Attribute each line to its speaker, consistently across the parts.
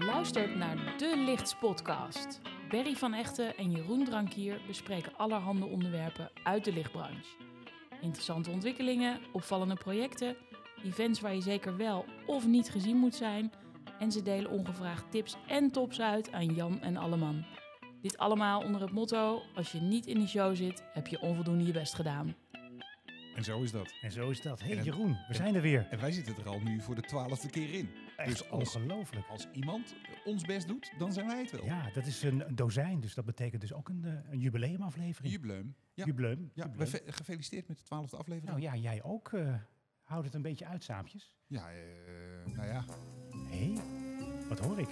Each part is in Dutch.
Speaker 1: luistert naar De Lichts Podcast. Berry van Echten en Jeroen Drankier bespreken allerhande onderwerpen uit de lichtbranche. Interessante ontwikkelingen, opvallende projecten, events waar je zeker wel of niet gezien moet zijn. En ze delen ongevraagd tips en tops uit aan Jan en Alleman. Dit allemaal onder het motto: als je niet in die show zit, heb je onvoldoende je best gedaan.
Speaker 2: En zo is dat.
Speaker 3: En zo is dat. Hé
Speaker 2: En
Speaker 3: hey,
Speaker 2: het-
Speaker 3: Jeroen, we
Speaker 2: het-
Speaker 3: zijn er weer.
Speaker 2: En wij zitten er al nu voor de twaalfde keer in.
Speaker 3: Echt
Speaker 2: dus als-
Speaker 3: ongelooflijk.
Speaker 2: Als iemand ons best doet, dan zijn wij het wel.
Speaker 3: Ja, dat is een een dozijn, dus dat betekent dus ook een, eh, een jubileumaflevering.
Speaker 2: Jubileum. Ja,
Speaker 3: Jubileum.
Speaker 2: ja
Speaker 3: jubileum.
Speaker 2: we- gefeliciteerd met de twaalfde
Speaker 3: Nou
Speaker 2: aflevering.
Speaker 3: ja, jij ook. eh houd het een beetje uit, saampjes.
Speaker 2: ja, eh, nou ja,
Speaker 3: Hé, wat hoor ik?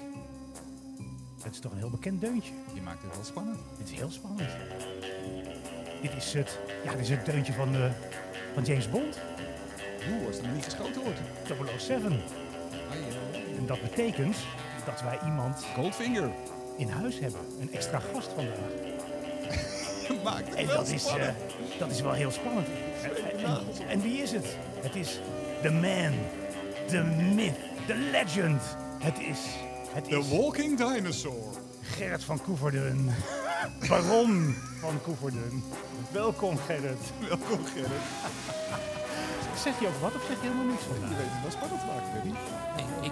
Speaker 3: Dat is toch een heel bekend deuntje.
Speaker 2: je maakt het wel spannend.
Speaker 3: Dit is heel spannend. Dit is het, ja, dit is het deuntje van, eh, van James Bond,
Speaker 2: Hoe als er nog niet geschoten wordt?
Speaker 3: 007.
Speaker 2: Ah, ja.
Speaker 3: En dat betekent dat wij iemand
Speaker 2: Goldfinger.
Speaker 3: in huis hebben. Een extra gast vandaag.
Speaker 2: maakt het
Speaker 3: En
Speaker 2: wel
Speaker 3: dat is, eh,
Speaker 2: spannend.
Speaker 3: dat is wel heel spannend. En, en- en wie is het? Het is de man, de myth, de legend. Het is, het
Speaker 2: The
Speaker 3: is
Speaker 2: Walking Dinosaur.
Speaker 3: Gerrit van Koeverden. Baron van Koeverden. Welkom Gerrit.
Speaker 2: Welkom Gerrit.
Speaker 3: Zeg je ook wat of zeg je helemaal niks
Speaker 2: Je
Speaker 3: vandaag?
Speaker 2: weet het wel spannend maakt, Berry.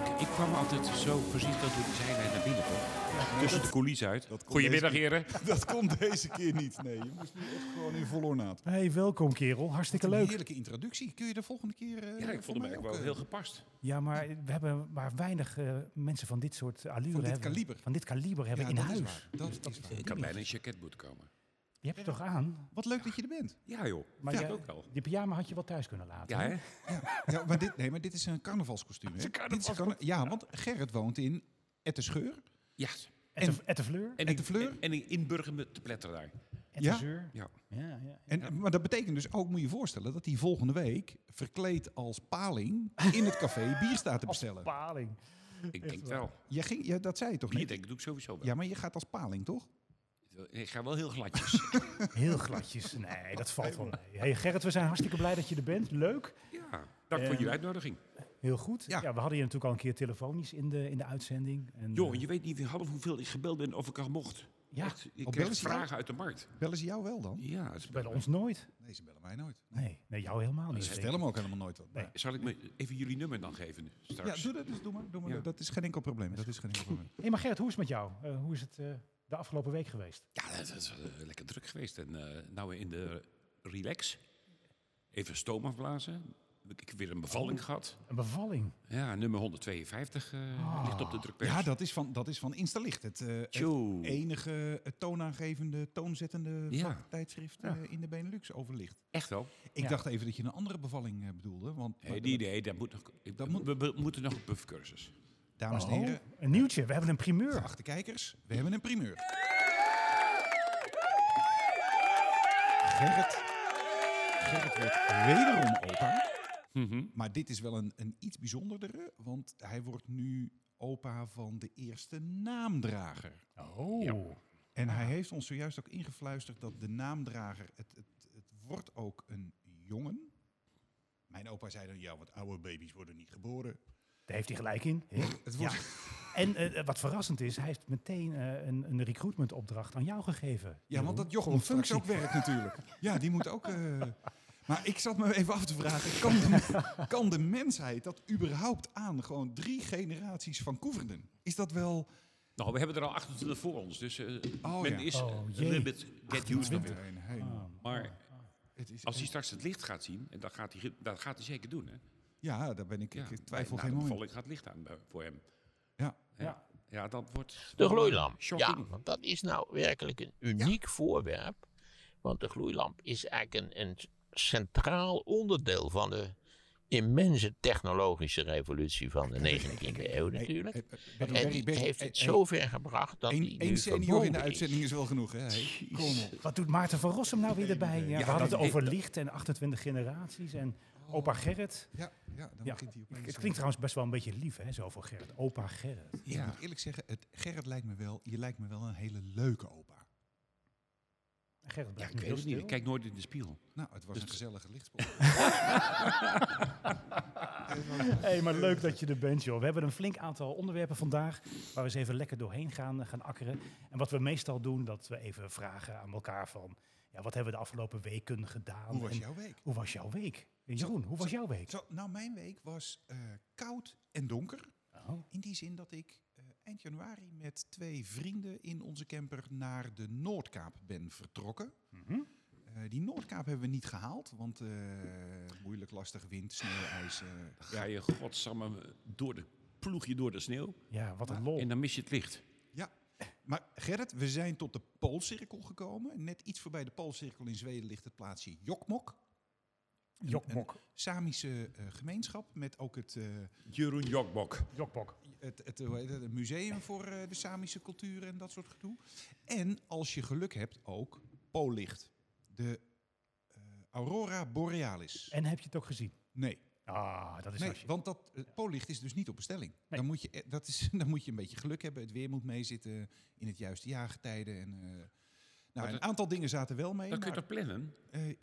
Speaker 4: Ik, ik kwam altijd zo precies dat hoe zijn wij naar binnen toch? Tussen de coulissen uit.
Speaker 2: dat komt
Speaker 4: Goedemiddag
Speaker 2: deze
Speaker 4: heren.
Speaker 2: Dat komt deze keer niet. Nee, je moest nu echt gewoon in vol ornaat.
Speaker 3: Hey, welkom kerel. Hartstikke
Speaker 2: Een
Speaker 3: leuk.
Speaker 2: heerlijke introductie. Kun je de volgende keer... eh,
Speaker 4: Ja, ik
Speaker 2: voor
Speaker 4: vond hem
Speaker 2: mij
Speaker 4: eigenlijk
Speaker 2: ook,
Speaker 4: wel
Speaker 2: eh,
Speaker 4: heel gepast.
Speaker 3: Ja, maar we hebben maar weinig eh, mensen van dit soort allure.
Speaker 2: dit
Speaker 3: hebben,
Speaker 2: kaliber.
Speaker 3: Van dit kaliber hebben
Speaker 2: ja,
Speaker 3: in
Speaker 2: dat
Speaker 3: huis.
Speaker 2: Is waar. Dat, is waar.
Speaker 4: Ik kan bijna in een jacketboot komen.
Speaker 3: Je hebt het toch aan?
Speaker 2: Wat leuk dat je er bent.
Speaker 4: Ja joh,
Speaker 3: Maar
Speaker 4: dat
Speaker 3: jij-
Speaker 4: ook wel. Hm?
Speaker 3: Die pyjama had je wel thuis kunnen laten.
Speaker 4: Ja hè?
Speaker 2: Ja, maar dit, nee, maar dit is een carnavalskostuum. Hè? Dit is carna- ja, want Gerrit woont in Ettenscheur.
Speaker 4: Ja.
Speaker 3: Et de-
Speaker 2: En-
Speaker 3: et de Fleur?
Speaker 4: En,
Speaker 2: En
Speaker 4: ik
Speaker 2: de Fleur?
Speaker 4: En ik inburger me te pletteren daar.
Speaker 3: Et
Speaker 2: Ja?
Speaker 3: de Zeur?
Speaker 4: Ja.
Speaker 3: Ja, ja.
Speaker 2: En, Maar dat betekent dus ook, moet je je voorstellen, dat hij volgende week verkleed als paling in het café bier staat te bestellen.
Speaker 3: Paling.
Speaker 4: Ik denk wel.
Speaker 2: Jij ging, ja, dat zei je toch
Speaker 4: Bier
Speaker 2: niet?
Speaker 4: denk ik doe ik sowieso wel.
Speaker 2: Ja, maar je gaat als paling, toch?
Speaker 4: Ik ga wel heel gladjes.
Speaker 3: Heel gladjes. Nee, dat valt wel mee. Hey Gerrit, we zijn hartstikke blij dat je er bent. Leuk.
Speaker 4: ja. Dank voor
Speaker 3: Ehm.
Speaker 4: jullie uitnodiging.
Speaker 3: Heel goed.
Speaker 2: Ja.
Speaker 3: Ja. we hadden je natuurlijk al een keer telefonisch in de, in de uitzending. En, eh,
Speaker 4: Joh, je weet niet half hoeveel ik gebeld ben of ik al mocht.
Speaker 3: Ja,
Speaker 4: Echt, ik
Speaker 2: op
Speaker 4: kreeg
Speaker 2: België?
Speaker 4: vragen uit de markt.
Speaker 2: Bellen ze jou wel dan?
Speaker 4: Ja, het is
Speaker 3: bij ons nooit.
Speaker 2: Nee, ze bellen mij nooit.
Speaker 3: Nee, nee jou helemaal niet.
Speaker 2: Ze vertellen me ook helemaal nooit wat.
Speaker 3: Nee.
Speaker 4: Zal ik me even jullie nummer dan geven
Speaker 2: Ja,
Speaker 4: straks?
Speaker 2: doe dat dus. Doe maar. Doe maar
Speaker 4: Ja.
Speaker 2: Dat is geen enkel probleem. Dat is geen enkel probleem.
Speaker 3: Hey, maar Gerrit, hoe is het met jou? Eh, hoe is het eh, de afgelopen week geweest?
Speaker 4: Ja, dat is wel, eh, lekker druk geweest. En eh, nou in de relax. Even stoom afblazen. Ik heb weer een bevalling
Speaker 2: Oh.
Speaker 4: gehad.
Speaker 3: Een bevalling.
Speaker 4: Ja, nummer 152 eh, ligt op de drukpers.
Speaker 2: Ah. Ja, dat is van, dat is van Instalicht. Het, eh, het
Speaker 4: Tjoe.
Speaker 2: enige eh, toonaangevende, toonzettende
Speaker 4: Ja.
Speaker 2: vaktijdschrift eh, in de Benelux over licht.
Speaker 4: Echt wel.
Speaker 2: Ik
Speaker 3: Ja.
Speaker 2: dacht even dat je een andere bevalling eh, bedoelde. Want,
Speaker 4: Nee, die idee, dat moet nog,
Speaker 2: Dat moet-
Speaker 4: we, we moeten nog een puffcursus.
Speaker 2: eh, Dames en
Speaker 3: Oh,
Speaker 2: heren,
Speaker 3: een nieuwtje. We hebben een primeur.
Speaker 2: geachte kijkers, we hebben een primeur. Gerrit, Gerrit wordt wederom opa.
Speaker 4: Mhm.
Speaker 2: Maar dit is wel een, een iets bijzonderdere, want hij wordt nu opa van de eerste naamdrager.
Speaker 3: Oh.
Speaker 2: En hij heeft ons zojuist ook ingefluisterd dat de naamdrager, het, het, het wordt ook een jongen. Mijn opa zei dan, ja, want oude baby's worden niet geboren.
Speaker 3: Daar heeft hij gelijk in.
Speaker 2: Het wordt, ja.
Speaker 3: En eh, wat verrassend is, hij heeft meteen eh, een, een recruitment opdracht aan jou gegeven.
Speaker 2: want dat Jochem
Speaker 3: Om
Speaker 2: Funks ook werkt natuurlijk. Ja, die moet ook... eh, maar ik zat me even af te vragen, kan de, kan de mensheid dat überhaupt aan? Gewoon drie generaties van Koeverden. Is dat wel...
Speaker 4: Nou, we hebben er al 28 voor ons, dus eh
Speaker 2: Oh,
Speaker 4: men
Speaker 2: ja.
Speaker 4: is
Speaker 3: Oh,
Speaker 4: eh, a
Speaker 3: jee.
Speaker 4: little bit get used to it.
Speaker 2: Heen, heen.
Speaker 4: Maar
Speaker 2: Het is
Speaker 4: Ah. als hij straks het licht gaat zien, en dat gaat hij, ge- dat gaat hij nou, zeker doen. Hè?
Speaker 2: Ja, daar ben ik,
Speaker 4: Ja,
Speaker 2: ik twijfel
Speaker 4: na
Speaker 2: geen
Speaker 4: de
Speaker 2: moment.
Speaker 4: bevalling gaat het licht aan bij- voor hem.
Speaker 2: Ja.
Speaker 3: Ja.
Speaker 4: Ja, ja dat wordt...
Speaker 5: De gloeilamp.
Speaker 4: Shocking.
Speaker 5: Ja, want dat is nou werkelijk een uniek voorwerp. Want de gloeilamp is eigenlijk een, een centraal onderdeel van de immense technologische revolutie van de 19e eeuw natuurlijk.
Speaker 2: Eh, eh, Barry,
Speaker 5: En
Speaker 2: Barry,
Speaker 5: die
Speaker 2: Barry,
Speaker 5: heeft
Speaker 2: eh,
Speaker 5: het
Speaker 2: eh,
Speaker 5: zover gebracht dat
Speaker 2: Eén
Speaker 5: die
Speaker 2: één
Speaker 5: nu
Speaker 2: senior in de
Speaker 5: verboden is.
Speaker 2: uitzending is wel genoeg, hè? Hey, Kom op.
Speaker 3: Wat doet Maarten van Rossum nou weer erbij? Ja, we hadden het
Speaker 4: dat-
Speaker 3: over licht en 28 generaties en opa Gerrit.
Speaker 2: Ja, ja dan
Speaker 3: Ja,
Speaker 2: begint hij opeens.
Speaker 3: het klinkt trouwens best wel een beetje lief, hè, zo voor Gerrit. Opa Gerrit.
Speaker 2: Ik moet eerlijk zeggen, het, Gerrit lijkt me wel, je lijkt me wel een hele leuke opa.
Speaker 3: En Gerrit
Speaker 4: Ja,
Speaker 3: blijft
Speaker 4: ik
Speaker 3: nu
Speaker 4: weet
Speaker 3: heel
Speaker 4: het
Speaker 3: stil.
Speaker 4: niet.
Speaker 5: Dus
Speaker 4: Ik kijk nooit in de spiegel.
Speaker 2: Nou, het was een gezellige lichtspot.
Speaker 3: hey, maar leuk dat je er bent, joh. We hebben een flink aantal onderwerpen vandaag waar we eens even lekker doorheen gaan, eh, gaan akkeren. En wat we meestal doen, dat we even vragen aan elkaar van... Ja, wat hebben we de afgelopen weken gedaan?
Speaker 2: Hoe was
Speaker 3: en
Speaker 2: jouw week?
Speaker 3: hoe was jouw week? En Jeroen, hoe was jouw week?
Speaker 2: Zo, nou, mijn week was eh, koud en donker.
Speaker 3: Oh.
Speaker 2: In die zin dat ik eh, eind januari met twee vrienden in onze camper naar de Noordkaap ben vertrokken.
Speaker 3: Mhm.
Speaker 2: Eh, die Noordkaap hebben we niet gehaald, want eh, moeilijk, lastig, wind, sneeuw, ijs. eh,
Speaker 4: Ga je godsamme door de ploeg je door de sneeuw
Speaker 3: Ja, wat een lol.
Speaker 4: en dan mis je het licht.
Speaker 2: ja. Maar Gerrit, we zijn tot de Poolcirkel gekomen. Net iets voorbij de Poolcirkel in Zweden ligt het plaatsje Jokmok. Een-
Speaker 3: Jokmok.
Speaker 2: Een Samische eh, gemeenschap met ook het, eh,
Speaker 4: Jeroen Jokbok.
Speaker 3: Jokbok.
Speaker 2: het, het, hoe heet het, het museum voor eh, de Samische cultuur en dat soort gedoe. En als je geluk hebt ook Poollicht. De eh, Aurora Borealis.
Speaker 3: En heb je het ook gezien?
Speaker 2: Nee.
Speaker 3: Ah, dat is
Speaker 2: Nee,
Speaker 3: als je-
Speaker 2: want dat eh, poollicht is dus niet op bestelling.
Speaker 3: Nee.
Speaker 2: Dan, moet je, eh, dat is, dan moet je een beetje geluk hebben. Het weer moet meezitten in het juiste jaargetijde. En, eh, nou,
Speaker 4: dat-
Speaker 2: een aantal dingen zaten wel mee.
Speaker 4: Dan kun je
Speaker 2: maar,
Speaker 4: toch plannen?
Speaker 2: eh, eh,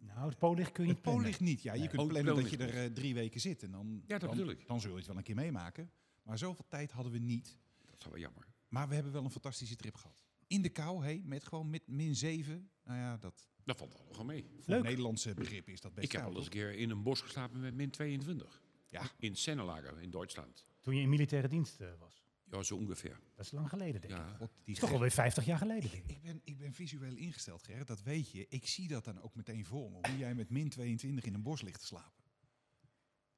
Speaker 3: Nou, het policht kun je
Speaker 2: het
Speaker 3: niet plannen.
Speaker 2: poollicht niet. Ja, je
Speaker 3: Nee.
Speaker 2: kunt
Speaker 4: Oh,
Speaker 2: plannen dat je er
Speaker 4: poollicht
Speaker 2: eh, drie weken zit. En dan,
Speaker 4: Ja, dat
Speaker 2: dan,
Speaker 4: bedoel ik.
Speaker 2: dan zul je het wel een keer meemaken. Maar zoveel tijd hadden we niet.
Speaker 4: Dat is wel jammer.
Speaker 2: Maar we hebben wel een fantastische trip gehad. In de kou, hé, met gewoon met min 7. Nou ja, dat
Speaker 4: Dat valt allemaal nog wel mee.
Speaker 2: voor
Speaker 3: Leuk.
Speaker 2: Nederlandse begrip is dat best
Speaker 4: Ik heb
Speaker 2: koud,
Speaker 4: al eens een
Speaker 2: hoor.
Speaker 4: keer in een bos geslapen met min 22.
Speaker 2: Ja.
Speaker 4: In Sennelager in Duitsland.
Speaker 3: Toen je in militaire dienst eh, was.
Speaker 4: Ja, zo ongeveer.
Speaker 3: Dat is lang geleden, denk ik.
Speaker 4: Ja.
Speaker 2: God, die
Speaker 3: Toch
Speaker 2: gek-
Speaker 3: alweer 50 jaar geleden, denk ik.
Speaker 2: Ik ben, ik ben visueel ingesteld, Gerrit, dat weet je. Ik zie dat dan ook meteen voor me. Hoe jij met min 22 in een bos ligt te slapen.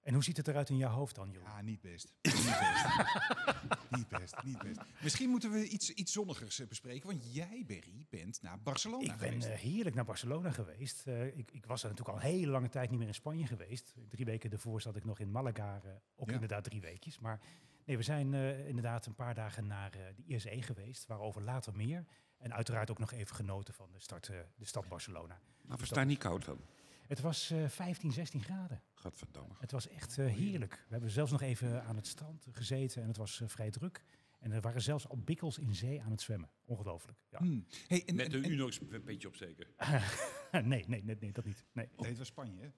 Speaker 3: En hoe ziet het eruit in jouw hoofd dan, joh?
Speaker 2: Ja, niet best. niet, best. niet best, niet best. Misschien moeten we iets, iets zonnigers eh, bespreken. Want jij, Berry, bent naar Barcelona
Speaker 3: ik ben
Speaker 2: geweest.
Speaker 3: eh, heerlijk naar Barcelona geweest. Eh, ik, ik was er natuurlijk al een hele lange tijd niet meer in Spanje geweest. Drie weken daarvoor zat ik nog in Malaga, eh, ook
Speaker 2: Ja.
Speaker 3: inderdaad drie weekjes. Maar nee, we zijn eh, inderdaad een paar dagen naar eh, de ISE geweest, waarover later meer. En uiteraard ook nog even genoten van de, start, eh, de stad Barcelona.
Speaker 4: Maar we staan niet koud dan.
Speaker 3: Het was eh 15, 16 graden.
Speaker 4: Gadverdamme.
Speaker 3: Het was echt eh, heerlijk. We hebben zelfs nog even aan het strand gezeten en het was eh, vrij druk. En er waren zelfs al bikkels in zee aan het zwemmen. Ongelooflijk. Ja.
Speaker 2: Hmm. Hey, en,
Speaker 4: Met
Speaker 2: en-
Speaker 4: de
Speaker 2: en-
Speaker 4: Unox een beetje opsteken.
Speaker 3: nee, nee, nee, nee, dat niet. Nee.
Speaker 2: Nee, het was Spanje, hè?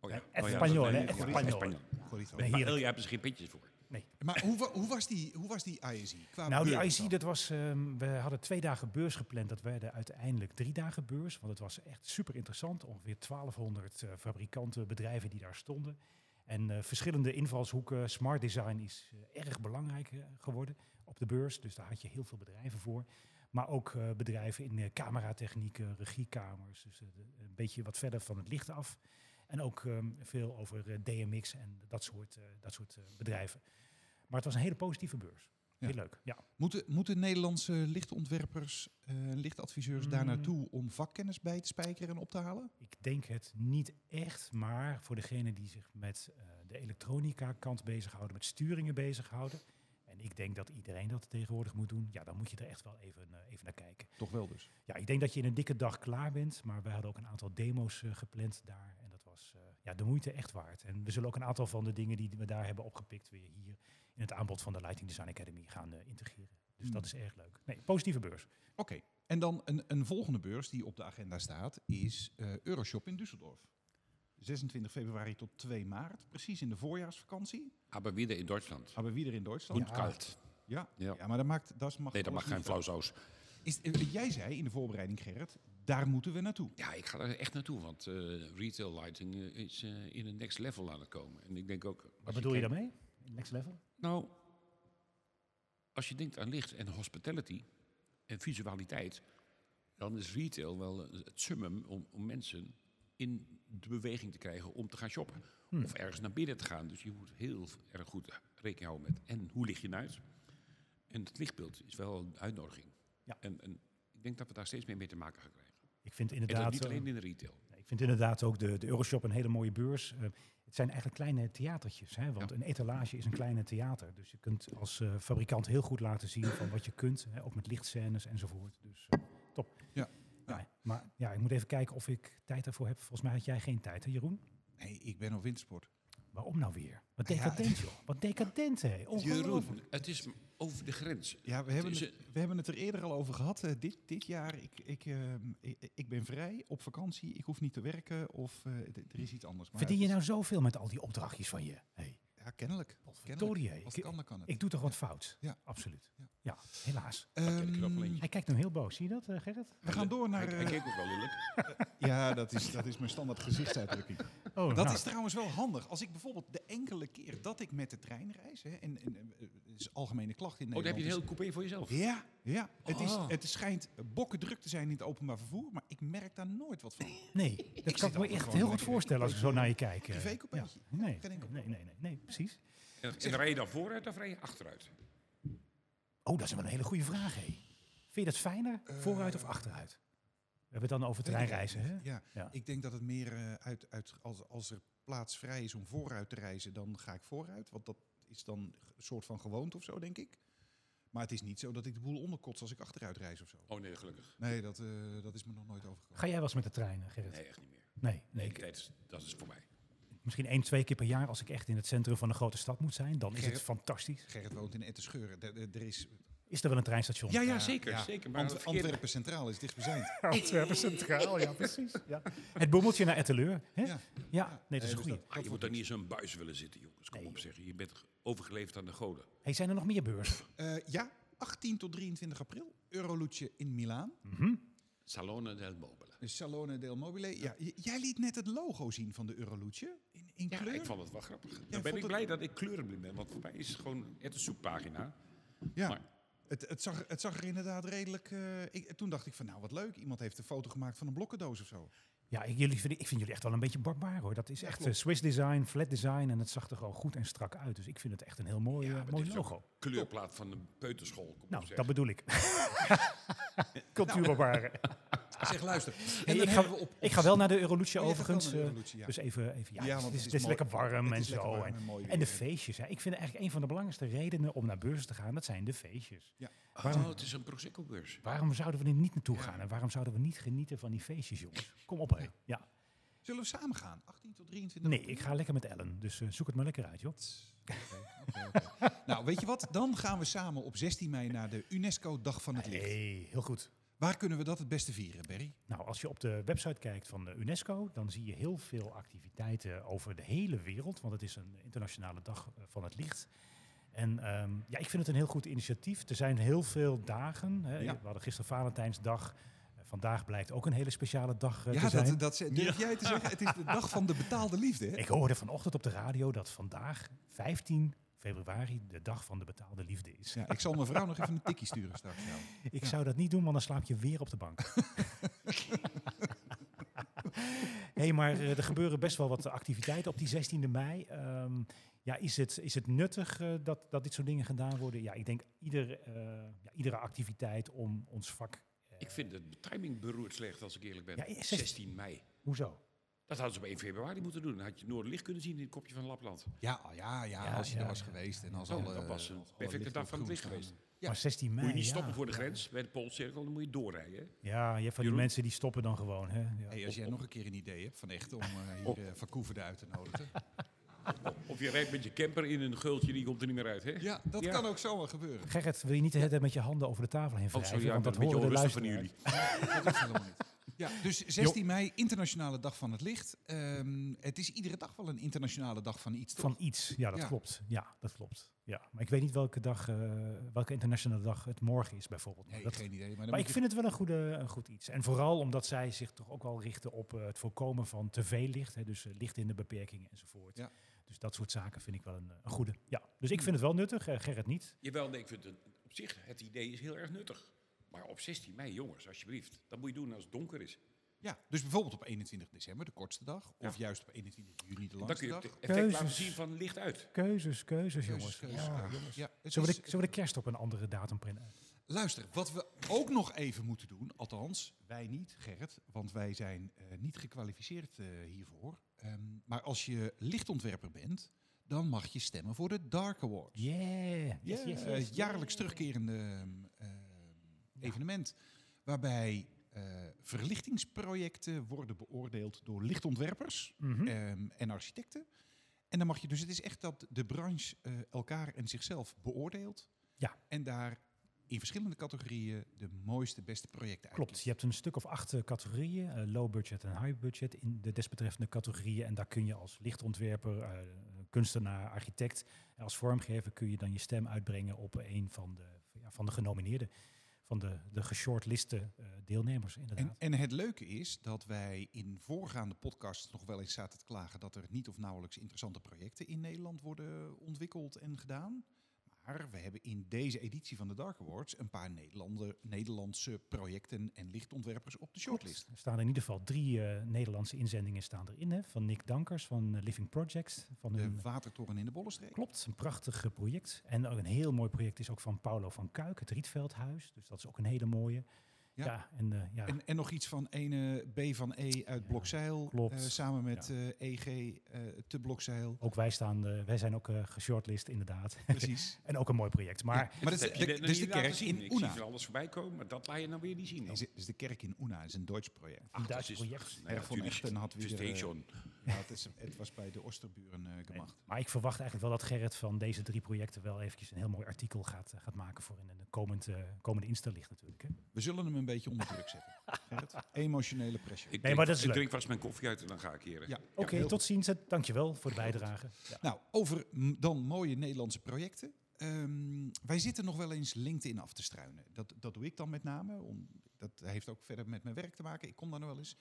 Speaker 4: Oh
Speaker 3: Even
Speaker 4: dat-
Speaker 3: Spanjool,
Speaker 4: nee,
Speaker 3: hè?
Speaker 4: nee,
Speaker 3: Even
Speaker 4: goed,
Speaker 3: Spanjool.
Speaker 2: Corito.
Speaker 3: Nee.
Speaker 4: Maar
Speaker 3: Heerlijk.
Speaker 4: El, jij hebt er geen pitjes voor.
Speaker 2: Maar hoe, wa- hoe was die, hoe was die ISI? Qua
Speaker 3: Nou, die
Speaker 2: beurten
Speaker 3: IC,
Speaker 2: dan?
Speaker 3: dat was, ehm, we hadden twee dagen beurs gepland. Dat werden uiteindelijk drie dagen beurs. Want het was echt super interessant. Ongeveer 1200 eh, fabrikanten, bedrijven die daar stonden. En eh, verschillende invalshoeken. Smart design is eh, erg belangrijk eh, geworden op de beurs. Dus daar had je heel veel bedrijven voor. Maar ook eh, bedrijven in eh, cameratechnieken, regiekamers. Dus eh, de- een beetje wat verder van het licht af. En ook ehm, veel over eh, DMX en dat soort, eh, dat soort eh, bedrijven. Maar het was een hele positieve beurs.
Speaker 2: Ja.
Speaker 3: Heel leuk, ja.
Speaker 2: Moeten, moeten Nederlandse lichtontwerpers, eh, lichtadviseurs
Speaker 3: Hmm.
Speaker 2: daar naartoe om vakkennis bij te spijkeren en op te halen?
Speaker 3: Ik denk het niet echt, maar voor degenen die zich met eh, de elektronica kant bezighouden, met sturingen bezighouden. En ik denk dat iedereen dat tegenwoordig moet doen. Ja, dan moet je er echt wel even, eh, even naar kijken.
Speaker 2: Toch wel dus.
Speaker 3: Ja, ik denk dat je in een dikke dag klaar bent. Maar we hadden ook een aantal demo's eh, gepland daar. En dat was eh, ja, de moeite echt waard. En we zullen ook een aantal van de dingen die we daar hebben opgepikt... weer hier in het aanbod van de Lighting Design Academy gaan eh, integreren. Dus
Speaker 4: Hmm.
Speaker 3: dat is erg leuk. Nee, positieve beurs.
Speaker 2: Oké. En dan een, een volgende beurs die op de agenda staat is eh, Euroshop in Düsseldorf. 26 februari tot 2 maart, precies in de voorjaarsvakantie. Ah,
Speaker 4: Aber wieder in Duitsland.
Speaker 2: Hebben we weer in Duitsland.
Speaker 4: Und koud.
Speaker 2: Ja, ja.
Speaker 4: Ja.
Speaker 2: maar dat maakt, dat mag,
Speaker 4: Nee, dat
Speaker 2: alles
Speaker 4: mag geen
Speaker 2: niet.
Speaker 4: flauwsaus.
Speaker 2: Is, eh, jij zei in de voorbereiding, Gerrit, daar moeten we naartoe.
Speaker 4: Ja, ik ga er echt naartoe, want eh, retail lighting eh, is eh, in een next level aan het komen. En ik denk ook... als
Speaker 3: Wat bedoel je
Speaker 4: dus kijkt-
Speaker 3: daarmee? Next level?
Speaker 4: Nou, als je denkt aan licht en hospitality en visualiteit, dan is retail wel eh, het summum om, om mensen in de beweging te krijgen om te gaan shoppen.
Speaker 3: Hmm.
Speaker 4: Of ergens naar binnen te gaan. Dus je moet heel erg goed rekening houden met en hoe lig je uit. En het lichtbeeld is wel een uitnodiging.
Speaker 3: Ja.
Speaker 4: En, en ik denk dat we daar steeds meer mee te maken gaan krijgen.
Speaker 3: Ik vind
Speaker 4: En
Speaker 3: inderdaad...
Speaker 4: dat niet
Speaker 3: eh,
Speaker 4: alleen in de retail.
Speaker 3: Nee, Ik vind inderdaad ook de, de Euroshop een hele mooie beurs. Eh, het zijn eigenlijk kleine theatertjes, hè? want
Speaker 4: Ja.
Speaker 3: een etalage is een kleine theater. Dus je kunt als eh, fabrikant heel goed laten zien van wat je kunt, hè? ook met lichtscènes enzovoort. Dus eh, top.
Speaker 2: Ja,
Speaker 3: Ja,
Speaker 2: ja.
Speaker 3: Maar ja, ik moet even kijken of ik tijd daarvoor heb. Volgens mij had jij geen tijd, hè Jeroen?
Speaker 2: Nee, ik ben op wintersport.
Speaker 3: Waarom nou weer? Wat
Speaker 2: Ja.
Speaker 3: decadent, joh. Wat decadent, hé. Ongelooflijk.
Speaker 4: Jeroen, het is m- over de grens.
Speaker 2: Ja, we hebben,
Speaker 4: is
Speaker 2: het, we hebben het er eerder al over gehad. eh, dit, dit jaar, ik, ik, ehm, ik, ik ben vrij op vakantie. Ik hoef niet te werken of eh, d- er is iets anders. Maar
Speaker 3: Verdien je
Speaker 2: het
Speaker 3: nou zoveel met al die opdrachtjes van je? Hé,
Speaker 2: is- Ja, kennelijk. kennelijk.
Speaker 3: Victoria, hé.
Speaker 2: Als
Speaker 3: ik,
Speaker 2: het kan, dan kan het.
Speaker 3: ik doe toch wat fout?
Speaker 2: Ja.
Speaker 3: Absoluut.
Speaker 2: Ja.
Speaker 3: Ja, helaas.
Speaker 4: ken ik er ook wel
Speaker 2: Ehm,
Speaker 4: eentje.
Speaker 3: Hij kijkt hem heel boos. Zie je dat, eh, Gerrit?
Speaker 2: we gaan door naar...
Speaker 4: Hij, hij
Speaker 2: eh,
Speaker 4: keek ook wel lelijk.
Speaker 2: ja, dat is, dat is mijn standaard gezichtsuitdrukking.
Speaker 3: Oh,
Speaker 2: Dat
Speaker 3: nou,
Speaker 2: is trouwens wel handig. Als ik bijvoorbeeld de enkele keer dat ik met de trein reis... Hè, en, en eh, het is algemene klacht in
Speaker 4: Oh, dan
Speaker 2: Nederland...
Speaker 4: heb je een
Speaker 2: is-
Speaker 4: heel coupé voor jezelf.
Speaker 2: Ja, ja. Het, is,
Speaker 4: Oh.
Speaker 2: het schijnt bokken druk te zijn in het openbaar vervoer, maar ik merk daar nooit wat van.
Speaker 3: nee, dat kan ik me
Speaker 2: altijd
Speaker 3: echt
Speaker 2: gewoon
Speaker 3: heel goed
Speaker 2: lekker
Speaker 3: voorstellen als ik zo naar je kijk. eh.
Speaker 2: Privécoupéetje.
Speaker 3: Ja. Nee,
Speaker 2: Geen
Speaker 3: nee,
Speaker 2: enkel
Speaker 3: nee, nee, nee, nee, precies.
Speaker 4: En, en rij je dan vooruit of rij je achteruit?
Speaker 3: Oh, dat is wel een hele goede vraag, hé. Vind je dat fijner, vooruit of achteruit? We hebben het dan over treinreizen, hè?
Speaker 2: Ja,
Speaker 3: Ja.
Speaker 2: ik denk dat het meer eh, uit, uit als, als er plaats vrij is om vooruit te reizen, dan ga ik vooruit. Want dat is dan een soort van gewoonte of zo, denk ik. Maar het is niet zo dat ik de boel onderkots als ik achteruit reis of zo.
Speaker 4: Oh nee, gelukkig.
Speaker 2: Nee, dat, eh, dat is me nog nooit overgekomen.
Speaker 3: Ga jij wel eens met de trein, eh, Gerrit?
Speaker 4: Nee, echt niet meer.
Speaker 3: Nee, nee.
Speaker 4: Nee,
Speaker 3: ik-
Speaker 4: dat is, dat is voor mij.
Speaker 3: misschien één, twee keer per jaar als ik echt in het centrum van een grote stad moet zijn. Dan is het
Speaker 2: Gerrit?
Speaker 3: fantastisch.
Speaker 2: Gerrit woont in Ettenscheuren. D- d- Er is...
Speaker 3: Is er wel een treinstation?
Speaker 4: Ja, ja,
Speaker 2: eh,
Speaker 4: zeker. zeker maar
Speaker 2: Ant-
Speaker 4: de verkeerde-
Speaker 2: Antwerpen Centraal is dichtstbijzijnd.
Speaker 3: Antwerpen Centraal, ja, precies. Ja. Het boemeltje naar Etteleur. Hè?
Speaker 2: Ja.
Speaker 3: Ja. nee, dat is een
Speaker 2: dus
Speaker 3: goeie.
Speaker 4: Ah, je moet daar niet in zo'n buis willen zitten, jongens. Kom op, zeg. Je bent overgeleverd aan de goden.
Speaker 3: Hey, zijn er nog meer beurzen?
Speaker 2: Eh, ja, 18 tot 23 april. Eurolutje in Milaan.
Speaker 4: Salone del Mobile.
Speaker 2: Dus Salone del Mobile. Ja, j- jij liet net het logo zien van de Eurolutje. In, in
Speaker 4: Ja,
Speaker 2: kleur.
Speaker 4: ik vond het wel grappig. Dan
Speaker 2: vond
Speaker 4: ben ik
Speaker 2: het-
Speaker 4: blij dat ik kleurenblind ben, want voor mij is het gewoon het een soeppagina.
Speaker 2: Ja.
Speaker 4: Maar-
Speaker 2: Het, het, zag, het zag er inderdaad redelijk... eh, ik, toen dacht ik van, nou wat leuk. Iemand heeft een foto gemaakt van een blokkendoos of zo.
Speaker 3: Ja, ik, jullie, vind- ik vind jullie echt wel een beetje barbaar hoor. Dat is echt eh, Swiss design, flat design en het zag er gewoon goed en strak uit. Dus ik vind het echt een heel mooi, eh,
Speaker 4: maar
Speaker 3: mooi
Speaker 4: dit is ook
Speaker 3: logo.
Speaker 4: Kleurplaat van de peuterschool. Kom op,
Speaker 3: Nou,
Speaker 4: zeg.
Speaker 3: dat bedoel ik. Cultuurbarbaren.
Speaker 2: Zeg, luister.
Speaker 3: Hey,
Speaker 2: Nou, en dan
Speaker 3: ik,
Speaker 2: hebben
Speaker 3: ga,
Speaker 2: we op...
Speaker 3: ik ga wel naar de Eurolutie
Speaker 2: Oh, jij gaat wel
Speaker 3: overigens.
Speaker 2: naar de
Speaker 3: eh,
Speaker 2: Eurolutie, ja.
Speaker 3: Dus even, even ja,
Speaker 2: Ja,
Speaker 3: het,
Speaker 2: want
Speaker 3: is,
Speaker 2: het
Speaker 3: het
Speaker 2: is
Speaker 3: is lekker
Speaker 2: mooi.
Speaker 3: warm
Speaker 2: Het
Speaker 3: en
Speaker 2: is lekker
Speaker 3: zo.
Speaker 2: warm
Speaker 3: en,
Speaker 2: en mooi
Speaker 3: en
Speaker 2: weer,
Speaker 3: de
Speaker 2: hè.
Speaker 3: feestjes. Hè. Ik vind eigenlijk een van de belangrijkste redenen om naar beurzen te gaan, dat zijn de feestjes.
Speaker 2: Ja.
Speaker 4: Oh, het is een Prosecco-beurs.
Speaker 3: Waarom zouden we er niet naartoe gaan en waarom zouden we niet genieten van die feestjes, jongens? Kom op, hé. Ja.
Speaker 2: Zullen we samen gaan? 18 tot 23
Speaker 3: Nee, ik ga lekker met Ellen, dus eh, zoek het maar lekker uit, joh.
Speaker 2: Nou, weet je wat? Dan gaan we samen op 16 mei naar de UNESCO-dag van het licht.
Speaker 3: hey, heel goed.
Speaker 2: Waar kunnen we dat het beste vieren, Berry?
Speaker 3: Nou, als je op de website kijkt van de UNESCO, dan zie je heel veel activiteiten over de hele wereld, want het is een internationale dag eh, van het licht. En ehm, ja, ik vind het een heel goed initiatief. Er zijn heel veel dagen. Hè.
Speaker 2: Ja.
Speaker 3: We hadden gisteren Valentijnsdag. Eh, Vandaag blijkt ook een hele speciale dag eh,
Speaker 2: Ja,
Speaker 3: te zijn.
Speaker 2: dat, dat ze- durf jij te zeggen? Het is de dag van de betaalde liefde, hè?
Speaker 3: Ik hoorde vanochtend op de radio dat vandaag, 15 februari, de dag van de betaalde liefde is.
Speaker 2: Ja, ik zal mijn vrouw nog even een tikkie sturen straks. Nou.
Speaker 3: Ik zou dat niet doen, want dan slaap je weer op de bank. Hé, hey, maar eh, er gebeuren best wel wat activiteiten op die 16e mei. Ehm, ja, is het, is het nuttig eh, dat, dat dit soort dingen gedaan worden? Ja, ik denk ieder, eh, ja, iedere activiteit om ons vak. eh,
Speaker 4: Ik vind de timing beroerd slecht, als ik eerlijk ben.
Speaker 3: Ja, is het-
Speaker 4: 16 mei.
Speaker 3: Hoezo?
Speaker 4: Dat hadden ze op 1 februari moeten doen. Dan had je Noorderlicht kunnen zien in het kopje van Lapland.
Speaker 2: Ja, oh ja, ja,
Speaker 3: Ja,
Speaker 2: als je
Speaker 3: ja,
Speaker 2: er was
Speaker 3: ja.
Speaker 2: geweest en als
Speaker 4: Oh,
Speaker 2: alle...
Speaker 4: dat was een
Speaker 2: als alle
Speaker 4: perfecte
Speaker 2: lichten
Speaker 4: dag van
Speaker 2: groen
Speaker 4: het licht
Speaker 2: staan.
Speaker 4: geweest.
Speaker 2: Ja.
Speaker 3: Maar 16 mei.
Speaker 4: Moet je niet
Speaker 3: ja.
Speaker 4: stoppen voor de grens, bij de Poolcirkel, dan moet je doorrijden.
Speaker 3: Ja, je hebt van die
Speaker 4: Jeroen?
Speaker 3: mensen die stoppen dan gewoon. Hè? Ja.
Speaker 2: Hey, als jij nog een keer een idee hebt van echt om eh, hier eh, Van Koeverden uit te nodigen.
Speaker 4: Of je rijdt met je camper in een gultje, die komt er niet meer uit, hè?
Speaker 2: Ja, dat
Speaker 4: Ja.
Speaker 2: kan ook zomaar gebeuren.
Speaker 3: Gerrit, wil je niet de hele tijd met je handen over de tafel heen
Speaker 4: Oh,
Speaker 3: wrijven?
Speaker 4: zo ja,
Speaker 3: want
Speaker 4: ik ben
Speaker 3: dat
Speaker 4: een beetje
Speaker 3: horen de
Speaker 4: onrustig van
Speaker 3: luisteraars.
Speaker 4: jullie.
Speaker 2: Dat hoeft helemaal niet. Ja, dus 16 mei, internationale dag van het licht. Ehm, het is iedere dag wel een internationale dag van iets, toch?
Speaker 3: Van iets, ja, dat
Speaker 2: Ja.
Speaker 3: klopt. Ja, dat klopt. Ja. Maar ik weet niet welke dag, eh, welke internationale dag het morgen is bijvoorbeeld. Maar
Speaker 2: Nee,
Speaker 3: dat-
Speaker 2: geen idee. Maar, dan
Speaker 3: maar
Speaker 2: moet
Speaker 3: ik
Speaker 2: je-
Speaker 3: vind het wel een, goede, een goed iets. En vooral omdat zij zich toch ook wel richten op eh, het voorkomen van te veel licht. Hè, dus eh, licht in de beperkingen enzovoort.
Speaker 2: Ja.
Speaker 3: Dus dat soort zaken vind ik wel een, eh, een goede. Ja. Dus ik vind het wel nuttig, eh, Gerrit niet.
Speaker 4: Jawel, nee, ik vind het op zich, het idee is heel erg nuttig. Maar op 16 mei, jongens, alsjeblieft. Dat moet je doen als het donker is.
Speaker 2: ja, dus bijvoorbeeld op 21 december, de kortste dag. Of juist op 21 juni, de
Speaker 4: Dan kun
Speaker 2: langste
Speaker 4: je
Speaker 2: dag.
Speaker 4: het effect laten
Speaker 3: Keuzes.
Speaker 4: zien van licht uit.
Speaker 3: Keuzes, keuzes,
Speaker 2: Keuzes,
Speaker 3: jongens.
Speaker 2: keuzes,
Speaker 3: Ja.
Speaker 2: keuzes. Ja, het
Speaker 3: Zullen, we
Speaker 2: is-
Speaker 3: de, zullen we de kerst op een andere datum plannen?
Speaker 2: Luister, wat we ook nog even moeten doen, althans wij niet, Gerrit, want wij zijn eh, niet gekwalificeerd eh, hiervoor. Ehm, maar als je lichtontwerper bent, dan mag je stemmen voor de Dark Award.
Speaker 3: Yeah. Yes, yes,
Speaker 2: Eh,
Speaker 3: yes.
Speaker 2: jaarlijks terugkerende ehm, ehm, evenement waarbij eh, verlichtingsprojecten worden beoordeeld door lichtontwerpers
Speaker 3: Mhm.
Speaker 2: ehm, en architecten. En dan mag je dus, het is echt dat de branche eh, elkaar en zichzelf beoordeelt.
Speaker 3: Ja.
Speaker 2: En daar in verschillende categorieën de mooiste, beste projecten uit.
Speaker 3: Klopt,
Speaker 2: kiest.
Speaker 3: je hebt een stuk of acht eh, categorieën, eh, low budget en high budget in de desbetreffende categorieën. En daar kun je als lichtontwerper, eh, kunstenaar, architect en als vormgever kun je dan je stem uitbrengen op een van de, ja, van de genomineerden, van de, de geshortliste eh, deelnemers inderdaad.
Speaker 2: En, en het leuke is dat wij in voorgaande podcasts nog wel eens zaten te klagen dat er niet of nauwelijks interessante projecten in Nederland worden ontwikkeld en gedaan. Maar we hebben in deze editie van de Dark Awards een paar Nederlander, Nederlandse projecten en lichtontwerpers op de shortlist.
Speaker 3: Er staan in ieder geval drie eh, Nederlandse inzendingen staan erin. Hè? Van Nick Dankers van eh, Living Projects. Van hun,
Speaker 2: De Watertoren in de Bollenstreek.
Speaker 3: klopt, een prachtig eh, project. En ook een heel mooi project is ook van Paolo van Kuik, het Rietveldhuis. Dus dat is ook een hele mooie.
Speaker 2: Ja.
Speaker 3: Ja, en, eh, ja,
Speaker 2: En, en nog iets van ene B van E uit
Speaker 3: Ja,
Speaker 2: Blokzeil.
Speaker 3: klopt.
Speaker 2: eh, samen met eh, EG eh, te Blokzeil.
Speaker 3: ook wij, staan, eh, wij zijn ook eh geshortlist inderdaad.
Speaker 2: Precies.
Speaker 3: en ook een mooi project. Maar
Speaker 2: Ja, maar dat is
Speaker 4: heb je
Speaker 2: de,
Speaker 4: net nog
Speaker 2: dus de
Speaker 4: niet laten
Speaker 2: kerk
Speaker 4: zien.
Speaker 2: in
Speaker 4: Ik zie
Speaker 2: Una.
Speaker 4: wel alles voorbij komen, maar dat laat je nou weer niet zien.
Speaker 2: Is- Dus de kerk in Una is een Duits project.
Speaker 3: een Duits
Speaker 4: is- nou
Speaker 3: project.
Speaker 4: Nee,
Speaker 2: Erg van
Speaker 4: natuurlijk.
Speaker 2: Echten had weer, eh,
Speaker 4: Verstation.
Speaker 2: Ja, het, is, het was bij de Osterburen eh, gemacht.
Speaker 3: Maar ik verwacht eigenlijk wel dat Gerrit van deze drie projecten wel eventjes een heel mooi artikel gaat, eh, gaat maken voor in de komend, eh, komende Insta-licht natuurlijk. Hè?
Speaker 2: We zullen hem een beetje onder druk zetten. Gerrit. Emotionele pressure.
Speaker 4: Ik,
Speaker 3: maar
Speaker 4: drink-
Speaker 3: dat is
Speaker 4: ik
Speaker 3: leuk.
Speaker 4: drink vast mijn koffie uit en dan ga ik hier.
Speaker 2: Ja.
Speaker 3: Oké,
Speaker 2: heel
Speaker 3: tot ziens. eh, Dankjewel voor de bijdrage. Ja.
Speaker 2: Nou, over m- dan mooie Nederlandse projecten. Ehm, wij zitten nog wel eens LinkedIn af te struinen. Dat, dat doe ik dan met name. Om, dat heeft ook verder met mijn werk te maken. Ik kom daar nog wel eens.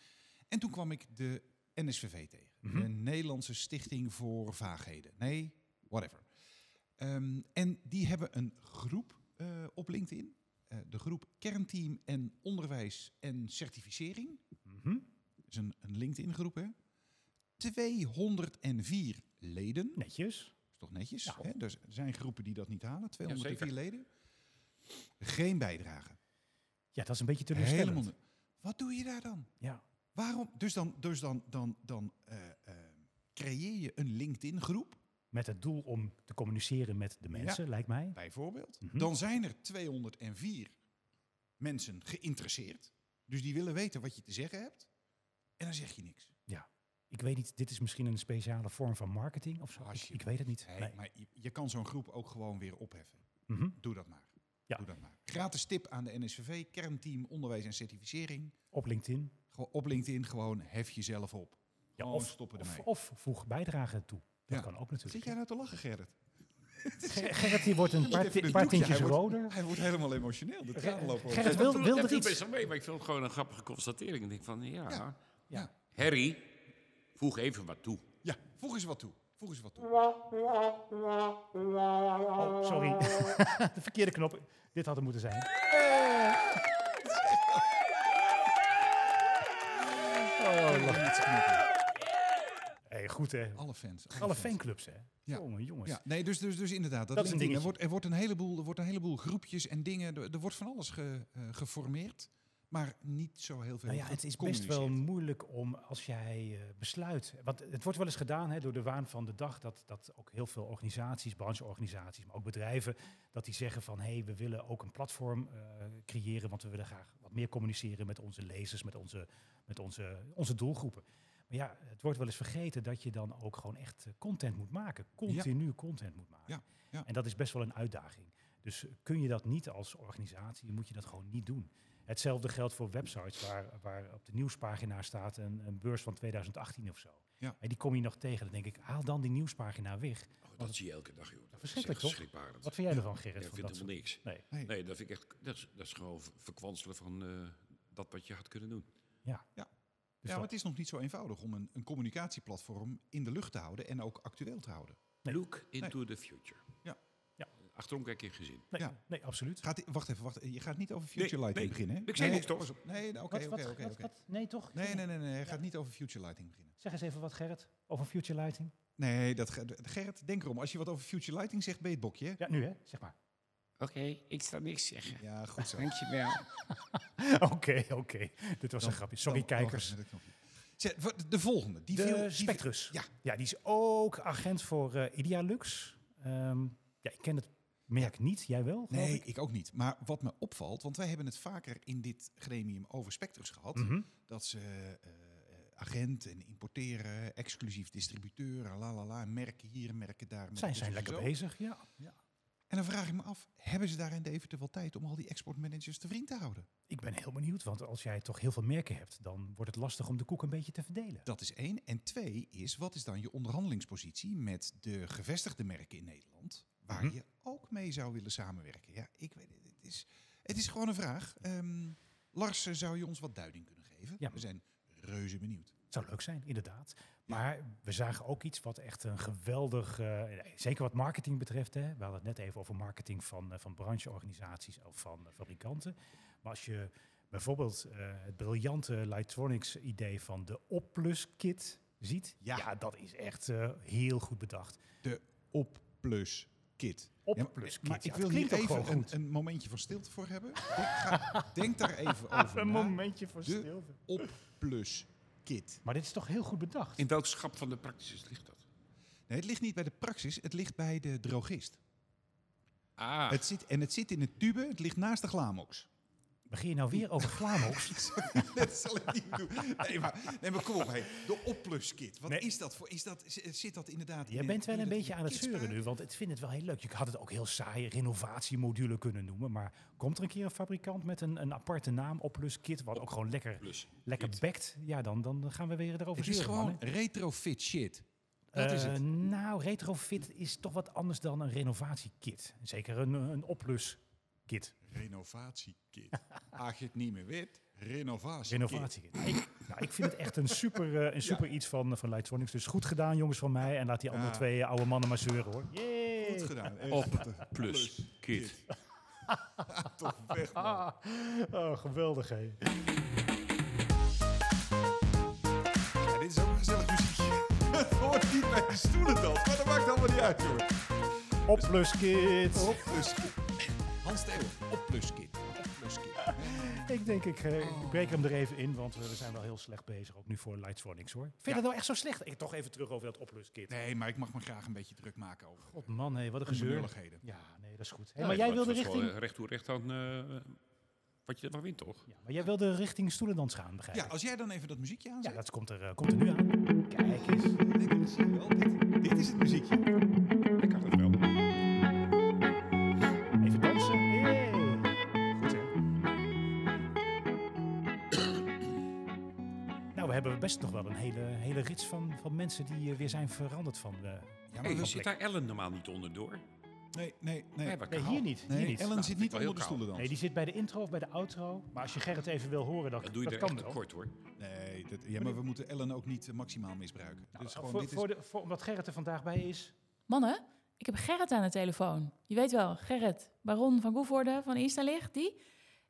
Speaker 2: En toen kwam ik de NSVV tegen. De Nederlandse Stichting voor Vaagheden. Nee, whatever. Ehm, en die hebben een groep eh, op LinkedIn. Eh, de groep Kernteam en Onderwijs en Certificering.
Speaker 3: Mhm.
Speaker 2: Dat is een, een LinkedIn-groep, hè? 204 leden.
Speaker 3: Netjes.
Speaker 2: Is toch netjes?
Speaker 3: Ja.
Speaker 2: Hè? Dus Er z- er zijn groepen die dat niet halen. 204
Speaker 4: Jazeker.
Speaker 2: leden. Geen bijdrage.
Speaker 3: Ja, dat is een beetje teleurstellend.
Speaker 2: Helemaal. ni- Wat doe je daar dan?
Speaker 3: Ja.
Speaker 2: Waarom? Dus dan, dus dan, dan, dan eh, eh, creëer je een LinkedIn-groep,
Speaker 3: Met het doel om te communiceren met de mensen, lijkt mij.
Speaker 2: bijvoorbeeld.
Speaker 3: Mhm.
Speaker 2: Dan zijn er 204 mensen geïnteresseerd. Dus die willen weten wat je te zeggen hebt. En dan zeg je niks.
Speaker 3: Ik weet niet, dit is misschien een speciale vorm van marketing of zo. Ik,
Speaker 2: Alsjeblieft.
Speaker 3: ik weet het niet.
Speaker 2: Nee,
Speaker 3: Nee.
Speaker 2: Maar je, je kan zo'n groep ook gewoon weer opheffen.
Speaker 3: Mhm.
Speaker 2: Doe dat maar.
Speaker 3: Ja.
Speaker 2: Doe dat maar. Gratis tip aan de NSVV, kernteam, E onderwijs en certificering.
Speaker 3: Op LinkedIn.
Speaker 2: Gewoon op LinkedIn gewoon hef jezelf op.
Speaker 3: Ja,
Speaker 2: Gewoon
Speaker 3: of,
Speaker 2: stoppen
Speaker 3: of,
Speaker 2: ermee.
Speaker 3: of voeg bijdragen toe. Dat
Speaker 2: Ja.
Speaker 3: kan ook
Speaker 2: Zit
Speaker 3: natuurlijk.
Speaker 2: jij nou te lachen, Gerrit?
Speaker 3: Ger- Gerrit die wordt een
Speaker 2: Even
Speaker 3: paar,
Speaker 2: een
Speaker 3: ti-
Speaker 2: doekje.
Speaker 3: paar tintjes
Speaker 2: Hij wordt-
Speaker 3: roder.
Speaker 2: Hij wordt helemaal emotioneel. De tranen lopen over.
Speaker 3: Gerrit wil, wil er
Speaker 4: viel
Speaker 3: iets.
Speaker 4: best wel mee, maar ik vond het gewoon een grappige constatering. Ik denk van, ja,
Speaker 2: Ja. Ja.
Speaker 4: Harry, voeg even wat toe.
Speaker 2: ja, voeg eens wat toe. Voeg eens wat toe.
Speaker 3: Oh, sorry. de verkeerde knop. Dit had er moeten zijn. Oh, lach.
Speaker 2: Met z'n knippen.
Speaker 3: Hey, goed hè.
Speaker 2: Alle fans. Alle,
Speaker 3: Alle
Speaker 2: fans.
Speaker 3: fanclubs hè.
Speaker 2: Oh, Ja.
Speaker 3: Jongen, jongens.
Speaker 2: Ja, nee, dus, dus, dus inderdaad. Dat,
Speaker 3: Dat is een
Speaker 2: LinkedIn. er, wordt,
Speaker 3: dingetje.
Speaker 2: er, wordt een heleboel, er wordt een heleboel groepjes en dingen. Er, er wordt van alles ge- eh, geformeerd. Maar niet zo heel veel.
Speaker 3: Nou ja, het is best wel
Speaker 2: gecommuniceerd. moeilijk
Speaker 3: moeilijk om als jij eh, besluit. Want het wordt wel eens gedaan hè, door de waan van de dag dat, dat ook heel veel organisaties, brancheorganisaties, maar ook bedrijven, dat die zeggen van hé, hey, we willen ook een platform eh, creëren, want we willen graag wat meer communiceren met onze lezers, met onze, met onze, onze doelgroepen. Maar ja, het wordt wel eens vergeten dat je dan ook gewoon echt eh, content moet maken, continu content moet maken.
Speaker 2: Ja, ja.
Speaker 3: En dat is best wel een uitdaging. Dus eh, kun je dat niet als organisatie, moet je dat gewoon niet doen. Hetzelfde geldt voor websites waar, waar op de nieuwspagina staat een, een beurs van 2018 of zo.
Speaker 2: Ja.
Speaker 3: En die kom je nog tegen. Dan denk ik, haal dan die nieuwspagina weg.
Speaker 4: Oh, dat zie je elke dag, joh. Dat
Speaker 3: Verschrikkelijk,
Speaker 4: is echt
Speaker 3: toch?
Speaker 4: schrikbarend.
Speaker 3: Wat vind jij ervan, Gerrit?
Speaker 4: Ja,
Speaker 3: van
Speaker 4: ik vind
Speaker 3: dat
Speaker 4: helemaal niks.
Speaker 3: soort- Nee.
Speaker 4: Nee, dat vind ik echt, dat is, dat is gewoon ver- verkwanselen van eh, dat wat je had kunnen doen.
Speaker 3: Dus
Speaker 2: ja, maar
Speaker 3: dat-
Speaker 2: het is nog niet zo eenvoudig om een, een communicatieplatform in de lucht te houden en ook actueel te houden.
Speaker 4: Look into the future.
Speaker 2: Ja.
Speaker 3: Ja.
Speaker 4: Achterom kijk je gezin.
Speaker 3: nee,
Speaker 2: ja.
Speaker 3: nee, absoluut.
Speaker 2: Gaat, wacht even, wacht. Je gaat niet over Future
Speaker 4: Nee,
Speaker 2: Lighting
Speaker 4: nee.
Speaker 2: beginnen, hè?
Speaker 4: Ik zei
Speaker 2: nee,
Speaker 4: niks, toch?
Speaker 2: pas op. Nee, nou,
Speaker 3: Wat-
Speaker 2: oké,
Speaker 3: wat-
Speaker 2: oké, oké.
Speaker 3: wat-
Speaker 2: oké.
Speaker 3: wat? Nee, toch?
Speaker 2: Nee, nee, nee, nee. Hij gaat niet over Future Lighting beginnen.
Speaker 3: Zeg eens even wat, Gerrit, over Future Lighting.
Speaker 2: Nee, dat, ge- Gerrit, denk erom. Als je wat over Future Lighting zegt, ben je het bokje, hè?
Speaker 3: Ja, nu hè, zeg maar.
Speaker 4: Oké, ik sta niks zeggen.
Speaker 2: Ja, goed zo.
Speaker 4: Dankjewel.
Speaker 3: Oké, oké. Dit was
Speaker 2: Dan-
Speaker 3: een grapje. Sorry,
Speaker 2: dan-
Speaker 3: kijkers.
Speaker 2: oh, dat knopje. Zeg, wat- de volgende. Die viel,
Speaker 3: de
Speaker 2: die
Speaker 3: Spectrus.
Speaker 2: ja.
Speaker 3: ja, die is ook agent voor eh Idealux. Ehm, ja, ik ken het merk niet. Jij wel? geloof
Speaker 2: Nee,
Speaker 3: ik?
Speaker 2: ik ook niet. Maar wat me opvalt, want wij hebben het vaker in dit gremium over Spectrus gehad,
Speaker 3: Mhm.
Speaker 2: dat ze eh, eh, agent en importeren, exclusief distributeur, la la la, merken hier, merken daar. merken
Speaker 3: Zijn,
Speaker 2: dus
Speaker 3: zijn
Speaker 2: en
Speaker 3: lekker
Speaker 2: zo.
Speaker 3: bezig, ja.
Speaker 2: En dan vraag ik me af, hebben ze daar in Deventer wel tijd om al die exportmanagers te vriend te houden?
Speaker 3: Ik ben heel benieuwd, want als jij toch heel veel merken hebt, dan wordt het lastig om de koek een beetje te verdelen.
Speaker 2: Dat is één. En twee is, wat is dan je onderhandelingspositie met de gevestigde merken in Nederland, waar
Speaker 4: Mhm.
Speaker 2: je ook mee zou willen samenwerken? Ja, ik weet het. Het is, het is gewoon een vraag. Ehm, Lars, eh, zou je ons wat duiding kunnen geven?
Speaker 3: Ja.
Speaker 2: We zijn reuze benieuwd.
Speaker 3: Zou leuk zijn, inderdaad. Maar we zagen ook iets wat echt een geweldig, eh, zeker wat marketing betreft. Hè. We hadden het net even over marketing van, eh, van brancheorganisaties of van eh, fabrikanten. Maar als je bijvoorbeeld eh, het briljante Lightronics idee van de Opplus Kit ziet.
Speaker 2: Ja.
Speaker 3: Ja, dat is echt eh, heel goed bedacht.
Speaker 2: Op plus kit. Ja,
Speaker 3: Opplus Kit,
Speaker 2: maar
Speaker 3: ja,
Speaker 2: ik
Speaker 3: het
Speaker 2: wil hier
Speaker 3: klinkt ook
Speaker 2: even
Speaker 3: gewoon
Speaker 2: een,
Speaker 3: goed.
Speaker 2: een momentje van stilte voor hebben. Ik ga- denk daar even over
Speaker 3: Een
Speaker 2: na.
Speaker 3: momentje voor
Speaker 2: De-
Speaker 3: stilte.
Speaker 2: Op plus kit.
Speaker 3: Maar dit is toch heel goed bedacht?
Speaker 4: In welk schap van de praktisches ligt dat?
Speaker 2: Nee, het ligt niet bij de praxis, het ligt bij de drogist.
Speaker 4: Ah,
Speaker 2: Het zit, en het zit in het tube, het ligt naast de glamox.
Speaker 3: Begin je nou weer over glamox?
Speaker 2: dat zal ik niet doen. Nee, maar, nee, maar kom op, hé. de oppluskit. Wat
Speaker 3: Nee.
Speaker 2: is dat voor? Is dat, z- zit dat inderdaad
Speaker 3: Jij
Speaker 2: in
Speaker 3: bent
Speaker 2: in
Speaker 3: wel een
Speaker 2: dat-
Speaker 3: beetje aan het
Speaker 2: kitspaar?
Speaker 3: zeuren nu, want ik vind het wel heel leuk. Je had het ook heel saai renovatiemodule kunnen noemen, maar komt er een keer een fabrikant met een, een aparte naam, Oplus Kit, wat ook gewoon lekker,
Speaker 4: plus.
Speaker 3: lekker
Speaker 4: Kit.
Speaker 3: bekt, ja, dan, dan gaan we weer erover
Speaker 2: Het is
Speaker 3: zeuren,
Speaker 2: gewoon
Speaker 3: mannen.
Speaker 2: retrofit shit. Dat is
Speaker 3: Eh,
Speaker 2: het.
Speaker 3: Nou, retrofit is toch wat anders dan een renovatiekit. Zeker een, een Oplus Kit,
Speaker 2: Renovatiekit. Aag je het niet meer wit, renovatie.
Speaker 3: renovatiekit. Ik, nou, ik vind het echt een super, eh, een super iets van, van Lightsonics, dus goed gedaan jongens van mij en laat die andere
Speaker 2: Ja.
Speaker 3: twee oude mannen maar zeuren hoor. Yay!
Speaker 2: Goed gedaan. Eh, Echt.
Speaker 4: Op plus kit.
Speaker 2: Toch weg, man.
Speaker 3: Ah, oh, geweldig hé.
Speaker 2: Ja, dit is ook een gezellig muziekje. Het hoort niet bij de stoelen dat, maar dat maakt allemaal niet uit, jongen.
Speaker 3: Opluskit.
Speaker 2: Opluskit. Hans Theo, opluskit. Opluskit.
Speaker 3: Ik denk, ik, eh, ik breek hem er even in, want we we zijn wel heel slecht bezig, ook nu voor Lightsonics hoor. Vind je dat nou echt zo slecht? Ik toch even terug over dat opluskit.
Speaker 2: Nee, maar ik mag me graag een beetje druk maken over
Speaker 3: God man, hé, wat een gezeur.
Speaker 2: gezeurlijkheden.
Speaker 3: Ja, nee, dat is goed. Hé, maar, jij wilde
Speaker 4: dat is wel,
Speaker 3: richting,
Speaker 4: eh, Recht toe, recht aan. eh, wat je wat wint toch?
Speaker 3: ja, maar jij wilde richting stoelendans gaan, begrijp
Speaker 2: Ja,
Speaker 3: ik.
Speaker 2: als jij dan even dat muziekje
Speaker 3: Ja,
Speaker 2: aanzet.
Speaker 3: dat komt er, eh, komt er nu aan. Kijk eens.
Speaker 2: Dit is, wel, dit, dit is het muziekje.
Speaker 4: Ik kan het wel.
Speaker 3: Even dansen. Hey. Goed hè. Nou, we hebben best nog wel een hele, hele rits van, van mensen die eh, weer zijn veranderd van... eh,
Speaker 2: Ja,
Speaker 4: Hey,
Speaker 2: we-
Speaker 4: zit daar Ellen normaal niet onderdoor?
Speaker 2: nee, nee, nee.
Speaker 4: Nee, wat
Speaker 3: nee,
Speaker 4: kaal.
Speaker 3: hier niet.
Speaker 2: Nee,
Speaker 3: hier niet.
Speaker 2: Ellen
Speaker 4: Nou,
Speaker 2: zit
Speaker 4: vind ik
Speaker 2: niet
Speaker 4: wel heel
Speaker 2: onder de stoelen dan.
Speaker 3: Nee, die zit bij de intro of bij de outro. Maar als je Gerrit even wil horen, dan
Speaker 4: Dat doe je er
Speaker 3: kan
Speaker 4: echt
Speaker 3: wel.
Speaker 4: tekort hoor.
Speaker 2: Nee, dat, ja, maar we moeten Ellen ook niet eh, maximaal misbruiken. dus gewoon,
Speaker 3: Nou, voor,
Speaker 2: dit is-
Speaker 3: voor de, voor, omdat Gerrit er vandaag bij is.
Speaker 1: Mannen, ik heb Gerrit aan de telefoon. Je weet wel, Gerrit, baron van Goevoorde van Instalicht, die,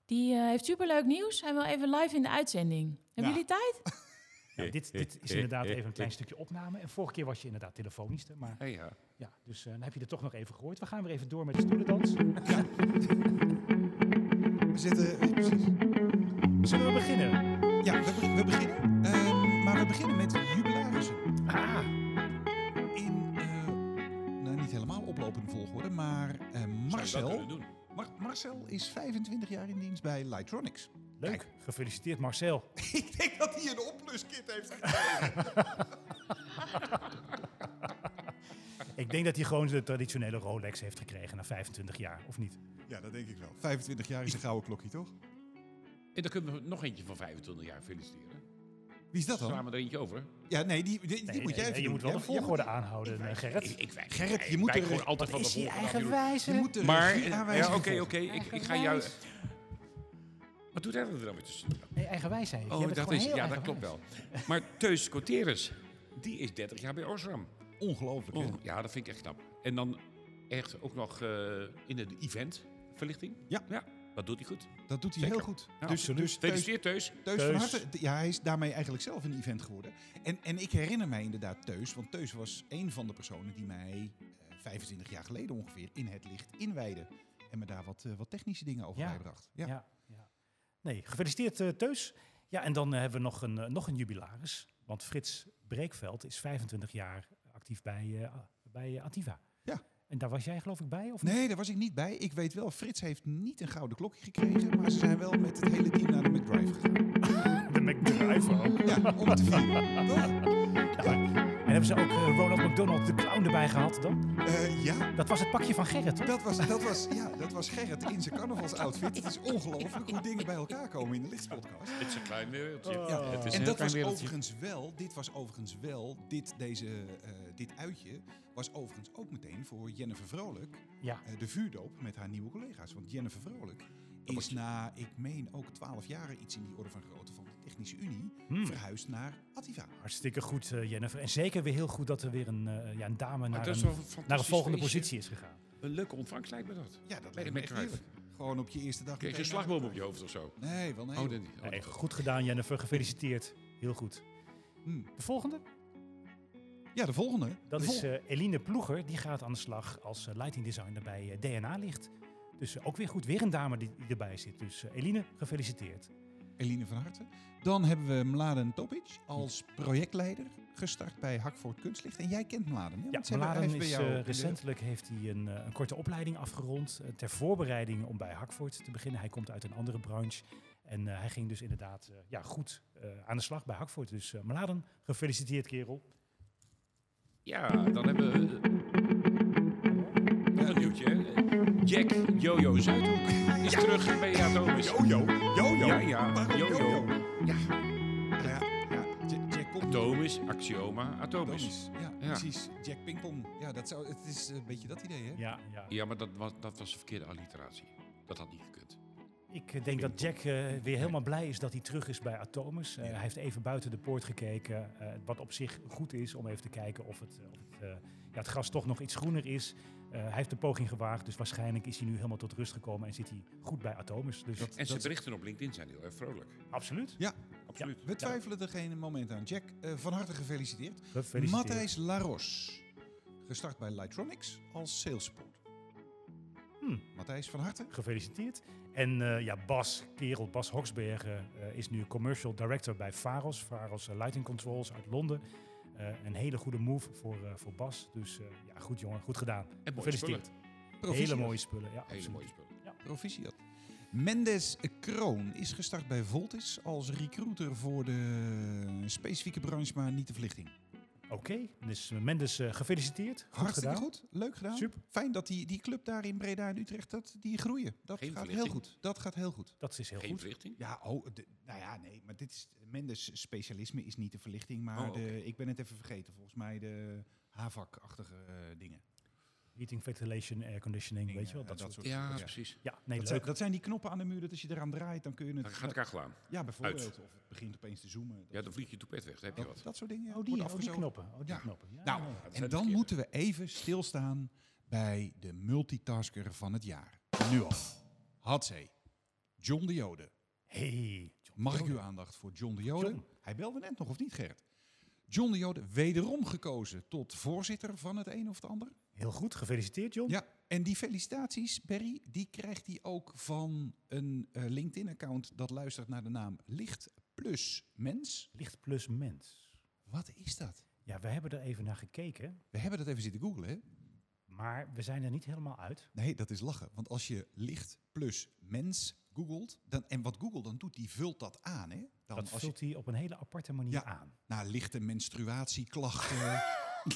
Speaker 1: die eh, heeft superleuk nieuws. Hij wil even live in de uitzending. Hebben
Speaker 2: Ja.
Speaker 1: jullie tijd?
Speaker 3: Nou, dit, dit is inderdaad even een klein stukje opname. En vorige keer was je inderdaad telefonisch. hè, Maar
Speaker 4: Ja, ja.
Speaker 3: ja, dus eh, dan heb je het toch nog even gehoord. We gaan weer even door met de stoelendans.
Speaker 2: we zitten... eh, precies.
Speaker 3: Zullen we beginnen?
Speaker 2: Ja, we, be- we beginnen. Ehm, maar we beginnen met jubilarissen.
Speaker 3: Ah,
Speaker 2: In, eh, nou niet helemaal oplopende volgorde, maar eh,
Speaker 4: Zou je wel
Speaker 2: Marcel...
Speaker 4: kunnen doen.
Speaker 2: Mar- Marcel is 25 jaar in dienst bij Lightronics.
Speaker 3: leuk. Gefeliciteerd Marcel.
Speaker 2: Ik denk dat hij een opluskit heeft
Speaker 3: Ik denk dat hij gewoon de traditionele Rolex heeft gekregen na 25 jaar, of niet?
Speaker 2: Ja, dat denk ik wel. 25 jaar is een gouden klokje, toch?
Speaker 4: En dan kunnen we nog eentje van 25 jaar feliciteren.
Speaker 2: Wie is dat dan?
Speaker 4: Slaan we er eentje over?
Speaker 2: Ja, nee, die, die, die
Speaker 3: Nee,
Speaker 2: moet
Speaker 3: nee,
Speaker 2: jij even
Speaker 3: nee, je
Speaker 2: doen.
Speaker 3: moet wel
Speaker 2: Jij-
Speaker 3: de
Speaker 2: jij
Speaker 3: volgorde aanhouden, eh,
Speaker 4: Ik,
Speaker 3: Gerrit.
Speaker 4: ik wijk-
Speaker 2: Gerrit,
Speaker 4: ik
Speaker 2: je moet
Speaker 4: wijk
Speaker 2: er-
Speaker 4: gewoon altijd van de
Speaker 3: Is hij
Speaker 4: volgorde af, joh.
Speaker 2: Je
Speaker 3: eigenwijze?
Speaker 2: moet de
Speaker 4: Maar,
Speaker 2: regie
Speaker 4: ja,
Speaker 2: aanwijzen
Speaker 4: oké,
Speaker 2: volgen.
Speaker 4: oké, ik, ik ga jou... Wat doet Ellen er dan weer tussen?
Speaker 3: Nee, eigenwijs zijn.
Speaker 4: Oh, dat is, ja, dat klopt wel. Maar Teus Coteres, die is 30 jaar bij Osram.
Speaker 2: Ongelooflijk, hè?
Speaker 4: Oh, ja, dat vind ik echt knap. En dan echt ook nog eh, in de eventverlichting.
Speaker 2: Ja.
Speaker 4: ja. Dat doet hij goed.
Speaker 2: Dat doet hij
Speaker 4: Zeker.
Speaker 2: heel goed.
Speaker 4: Ja,
Speaker 2: dus dus Teus,
Speaker 4: Gefeliciteerd, Teus.
Speaker 2: Teus van
Speaker 3: Teus.
Speaker 2: harte, d- ja, hij is daarmee eigenlijk zelf een event geworden. En, en ik herinner mij inderdaad Teus, want Teus was een van de personen die mij eh, 25 jaar geleden ongeveer in het licht inwijde. En me daar wat, eh, wat technische dingen over
Speaker 3: Ja.
Speaker 2: bijbracht. Ja.
Speaker 3: Ja, ja. Nee, gefeliciteerd eh, Teus. Ja, en dan eh, hebben we nog een, eh, nog een jubilaris. Want Frits Breekveld is 25 jaar actief bij, eh, A- bij eh, Ativa.
Speaker 2: Ja.
Speaker 3: En daar was jij geloof ik bij? Of
Speaker 2: Nee, daar was ik niet bij. Ik weet wel, Frits heeft niet een gouden klokje gekregen, maar ze zijn wel met het hele team naar de McDrive gegaan.
Speaker 3: De McDrive ook.
Speaker 2: Ja, om te vieren. Toch?
Speaker 3: En hebben ze ook eh, Ronald McDonald de clown erbij gehad dan?
Speaker 2: Eh, ja,
Speaker 3: Dat was het pakje van Gerrit, toch?
Speaker 2: dat was, dat, was, ja, dat was Gerrit in zijn carnavalsoutfit. Het is ongelooflijk hoe dingen bij elkaar komen in de lichtspodcast.
Speaker 4: Het is een klein wereldje.
Speaker 2: Oh. Ja,
Speaker 4: Oh, Het is een
Speaker 2: en
Speaker 4: heel
Speaker 2: dat
Speaker 4: klein
Speaker 2: was
Speaker 4: wereldje.
Speaker 2: overigens wel, dit was overigens wel, dit, deze, eh, dit uitje was overigens ook meteen voor Jennifer Vrolijk
Speaker 3: Ja.
Speaker 2: eh, de vuurdoop met haar nieuwe collega's. Want Jennifer Vrolijk is na, ik meen ook twaalf jaren iets in die orde van grootte van de Technische Unie,
Speaker 3: Hmm.
Speaker 2: verhuisd naar Attiva.
Speaker 3: Hartstikke goed, eh, Jennifer. En zeker weer heel goed dat er weer een, eh, ja, een dame
Speaker 4: Maar
Speaker 3: naar
Speaker 4: dat
Speaker 3: een,
Speaker 4: is wel een
Speaker 3: naar een
Speaker 4: fantastisch
Speaker 3: volgende
Speaker 4: feestje.
Speaker 3: positie is gegaan.
Speaker 4: Een leuke ontvangst lijkt me dat.
Speaker 2: Ja, dat
Speaker 4: Ben je
Speaker 2: lijkt me
Speaker 4: met
Speaker 2: echt
Speaker 4: Cruijff?
Speaker 2: heerlijk. Gewoon op je eerste dag.
Speaker 4: Kreeg je een
Speaker 2: meteen
Speaker 4: slagboom op
Speaker 2: naar-
Speaker 4: je hoofd of zo?
Speaker 2: Nee, wel nee.
Speaker 4: Oh,
Speaker 2: hoor.
Speaker 4: dat niet. Oh,
Speaker 3: Nee,
Speaker 4: dat-
Speaker 3: goed gedaan, Jennifer. Gefeliciteerd. Heel goed.
Speaker 2: Hmm.
Speaker 3: De volgende?
Speaker 2: Ja, de volgende.
Speaker 3: Dat
Speaker 2: De
Speaker 3: is
Speaker 2: vol-
Speaker 3: eh, Eline Ploeger. Die gaat aan de slag als eh, lighting designer bij eh, DNA Licht. Dus eh, ook weer goed. Weer een dame die, die erbij zit. Dus eh, Eline, gefeliciteerd.
Speaker 2: Eline van Harte. Dan hebben we Mladen Topic als projectleider gestart bij Hakvoort Kunstlicht. En jij kent Mladen, hè?
Speaker 3: Ja,
Speaker 2: Want ze hebben-
Speaker 3: Mladen
Speaker 2: hij
Speaker 3: is
Speaker 2: bij jou
Speaker 3: eh,
Speaker 2: in de-
Speaker 3: recentelijk heeft hij een, eh, een korte opleiding afgerond. eh, ter voorbereiding om bij Hakvoort te beginnen. Hij komt uit een andere branche. En eh, hij ging dus inderdaad eh, ja, goed eh, aan de slag bij Hakvoort. Dus eh Mladen, gefeliciteerd kerel.
Speaker 4: Ja, dan hebben we... eh, Nog een nieuwtje, hè? Jack Jojo Zuidhoek is terug bij Atomis.
Speaker 2: Jojo, Jojo.
Speaker 4: Ja, ja,
Speaker 2: Waarom
Speaker 4: Jojo.
Speaker 2: Ja, ja. J- Jack Pong.
Speaker 4: Atomis, Axioma, Atomis.
Speaker 2: Domis. Ja, precies. Jack Pingpong. Ja, dat zou, het is eh, een beetje dat idee, hè?
Speaker 3: Ja, ja.
Speaker 4: Ja, maar dat was, dat was een verkeerde alliteratie. Dat had niet gekund.
Speaker 3: Ik eh, denk dat Jack eh, weer helemaal blij is dat hij terug is bij Atomus. Eh,
Speaker 2: Ja.
Speaker 3: Hij heeft even buiten de poort gekeken, eh, wat op zich goed is om even te kijken of het, eh, of het, eh, ja, het gras toch nog iets groener is. Eh, hij heeft de poging gewaagd, dus waarschijnlijk is hij nu helemaal tot rust gekomen en zit hij goed bij Atomus. Dus
Speaker 4: En zijn
Speaker 2: dat-
Speaker 4: berichten op LinkedIn zijn heel erg vrolijk.
Speaker 3: absoluut.
Speaker 4: Absoluut.
Speaker 2: We twijfelen er geen moment aan. Jack, eh, van harte gefeliciteerd.
Speaker 3: Gefeliciteerd.
Speaker 2: Matthijs Laros. Gestart bij Lightronics als sales support.
Speaker 3: Hmm.
Speaker 2: Matthijs, van harte.
Speaker 3: Gefeliciteerd. En eh, ja, Bas, kerel Bas Hoksbergen, eh, is nu commercial director bij Faros. Faros eh, Lighting Controls uit Londen. Eh, een hele goede move voor, eh, voor Bas. Dus eh, ja, goed jongen, goed gedaan.
Speaker 4: En mooie
Speaker 3: Gefeliciteerd.
Speaker 4: spullen.
Speaker 2: Proficiat.
Speaker 3: Hele mooie spullen. Ja,
Speaker 4: Hele
Speaker 3: absoluut.
Speaker 4: mooie spullen.
Speaker 2: Proficiat. Mendes Kroon is gestart bij Voltis als recruiter voor de specifieke branche, maar niet de verlichting.
Speaker 3: Oké, dus eh, Mendes, eh, gefeliciteerd. Goed
Speaker 2: Hartstikke
Speaker 3: gedaan.
Speaker 2: goed, leuk gedaan.
Speaker 3: Super.
Speaker 2: Fijn dat die, die club daar in Breda en Utrecht, dat, die groeien. Dat
Speaker 4: Geen
Speaker 2: gaat heel
Speaker 4: verlichting.
Speaker 2: goed. Dat gaat heel goed.
Speaker 3: Dat is heel
Speaker 4: Geen
Speaker 3: goed.
Speaker 4: verlichting?
Speaker 2: Ja, oh, de- nou ja, nee, maar dit is, Mendes specialisme is niet de verlichting, maar
Speaker 4: Oh, oké.
Speaker 2: de, ik ben het even vergeten, volgens mij de HAVAC-achtige eh, dingen.
Speaker 3: Heating, ventilation, air conditioning, weet je wel.
Speaker 2: Eh,
Speaker 3: Dat, soort.
Speaker 4: Ja,
Speaker 2: dingen,
Speaker 4: precies.
Speaker 3: Ja, nee,
Speaker 2: Dat zijn,
Speaker 3: leuk. Oh,
Speaker 2: dat zijn die knoppen aan de muur, dat als je eraan draait, dan kun je het...
Speaker 4: Dan gaat elkaar gelaan.
Speaker 2: ja, bijvoorbeeld. Of het begint opeens te zoomen. Dat
Speaker 4: Ja, dan vlieg je toepet weg. Dan heb je
Speaker 2: Dat,
Speaker 4: wat.
Speaker 2: dat soort dingen. ja,
Speaker 3: Oh,
Speaker 2: wordt
Speaker 3: die, oh, die
Speaker 2: afgezogen.
Speaker 3: knoppen. Oh, die
Speaker 2: Ja.
Speaker 3: knoppen. Ja,
Speaker 2: Nou,
Speaker 3: nee.
Speaker 4: zijn de
Speaker 2: en dan
Speaker 4: verkeerde.
Speaker 2: moeten we even stilstaan bij de multitasker van het jaar. Nu al. Hatzee. John de Jode.
Speaker 3: Hey.
Speaker 2: Mag ik uw aandacht voor John de Jode?
Speaker 3: John.
Speaker 2: Hij belde net nog, of niet Gerrit? John de Jode, wederom gekozen tot voorzitter van het een of het ander.
Speaker 3: Heel goed, gefeliciteerd John.
Speaker 2: Ja, en die felicitaties, Berry, die krijgt hij ook van een eh, LinkedIn-account dat luistert naar de naam Licht Plus Mens.
Speaker 3: Licht plus mens.
Speaker 2: Wat is dat?
Speaker 3: Ja, we hebben er even naar gekeken.
Speaker 2: We hebben dat even zitten googlen, hè?
Speaker 3: Maar we zijn er niet helemaal uit.
Speaker 2: Nee, dat is lachen. Want als je licht plus mens googelt, dan, en wat Google dan doet, die vult dat aan. Hè? Dan
Speaker 3: dat
Speaker 2: als je
Speaker 3: vult hij op een hele aparte manier
Speaker 2: Ja.
Speaker 3: aan.
Speaker 2: naar lichte menstruatieklachten.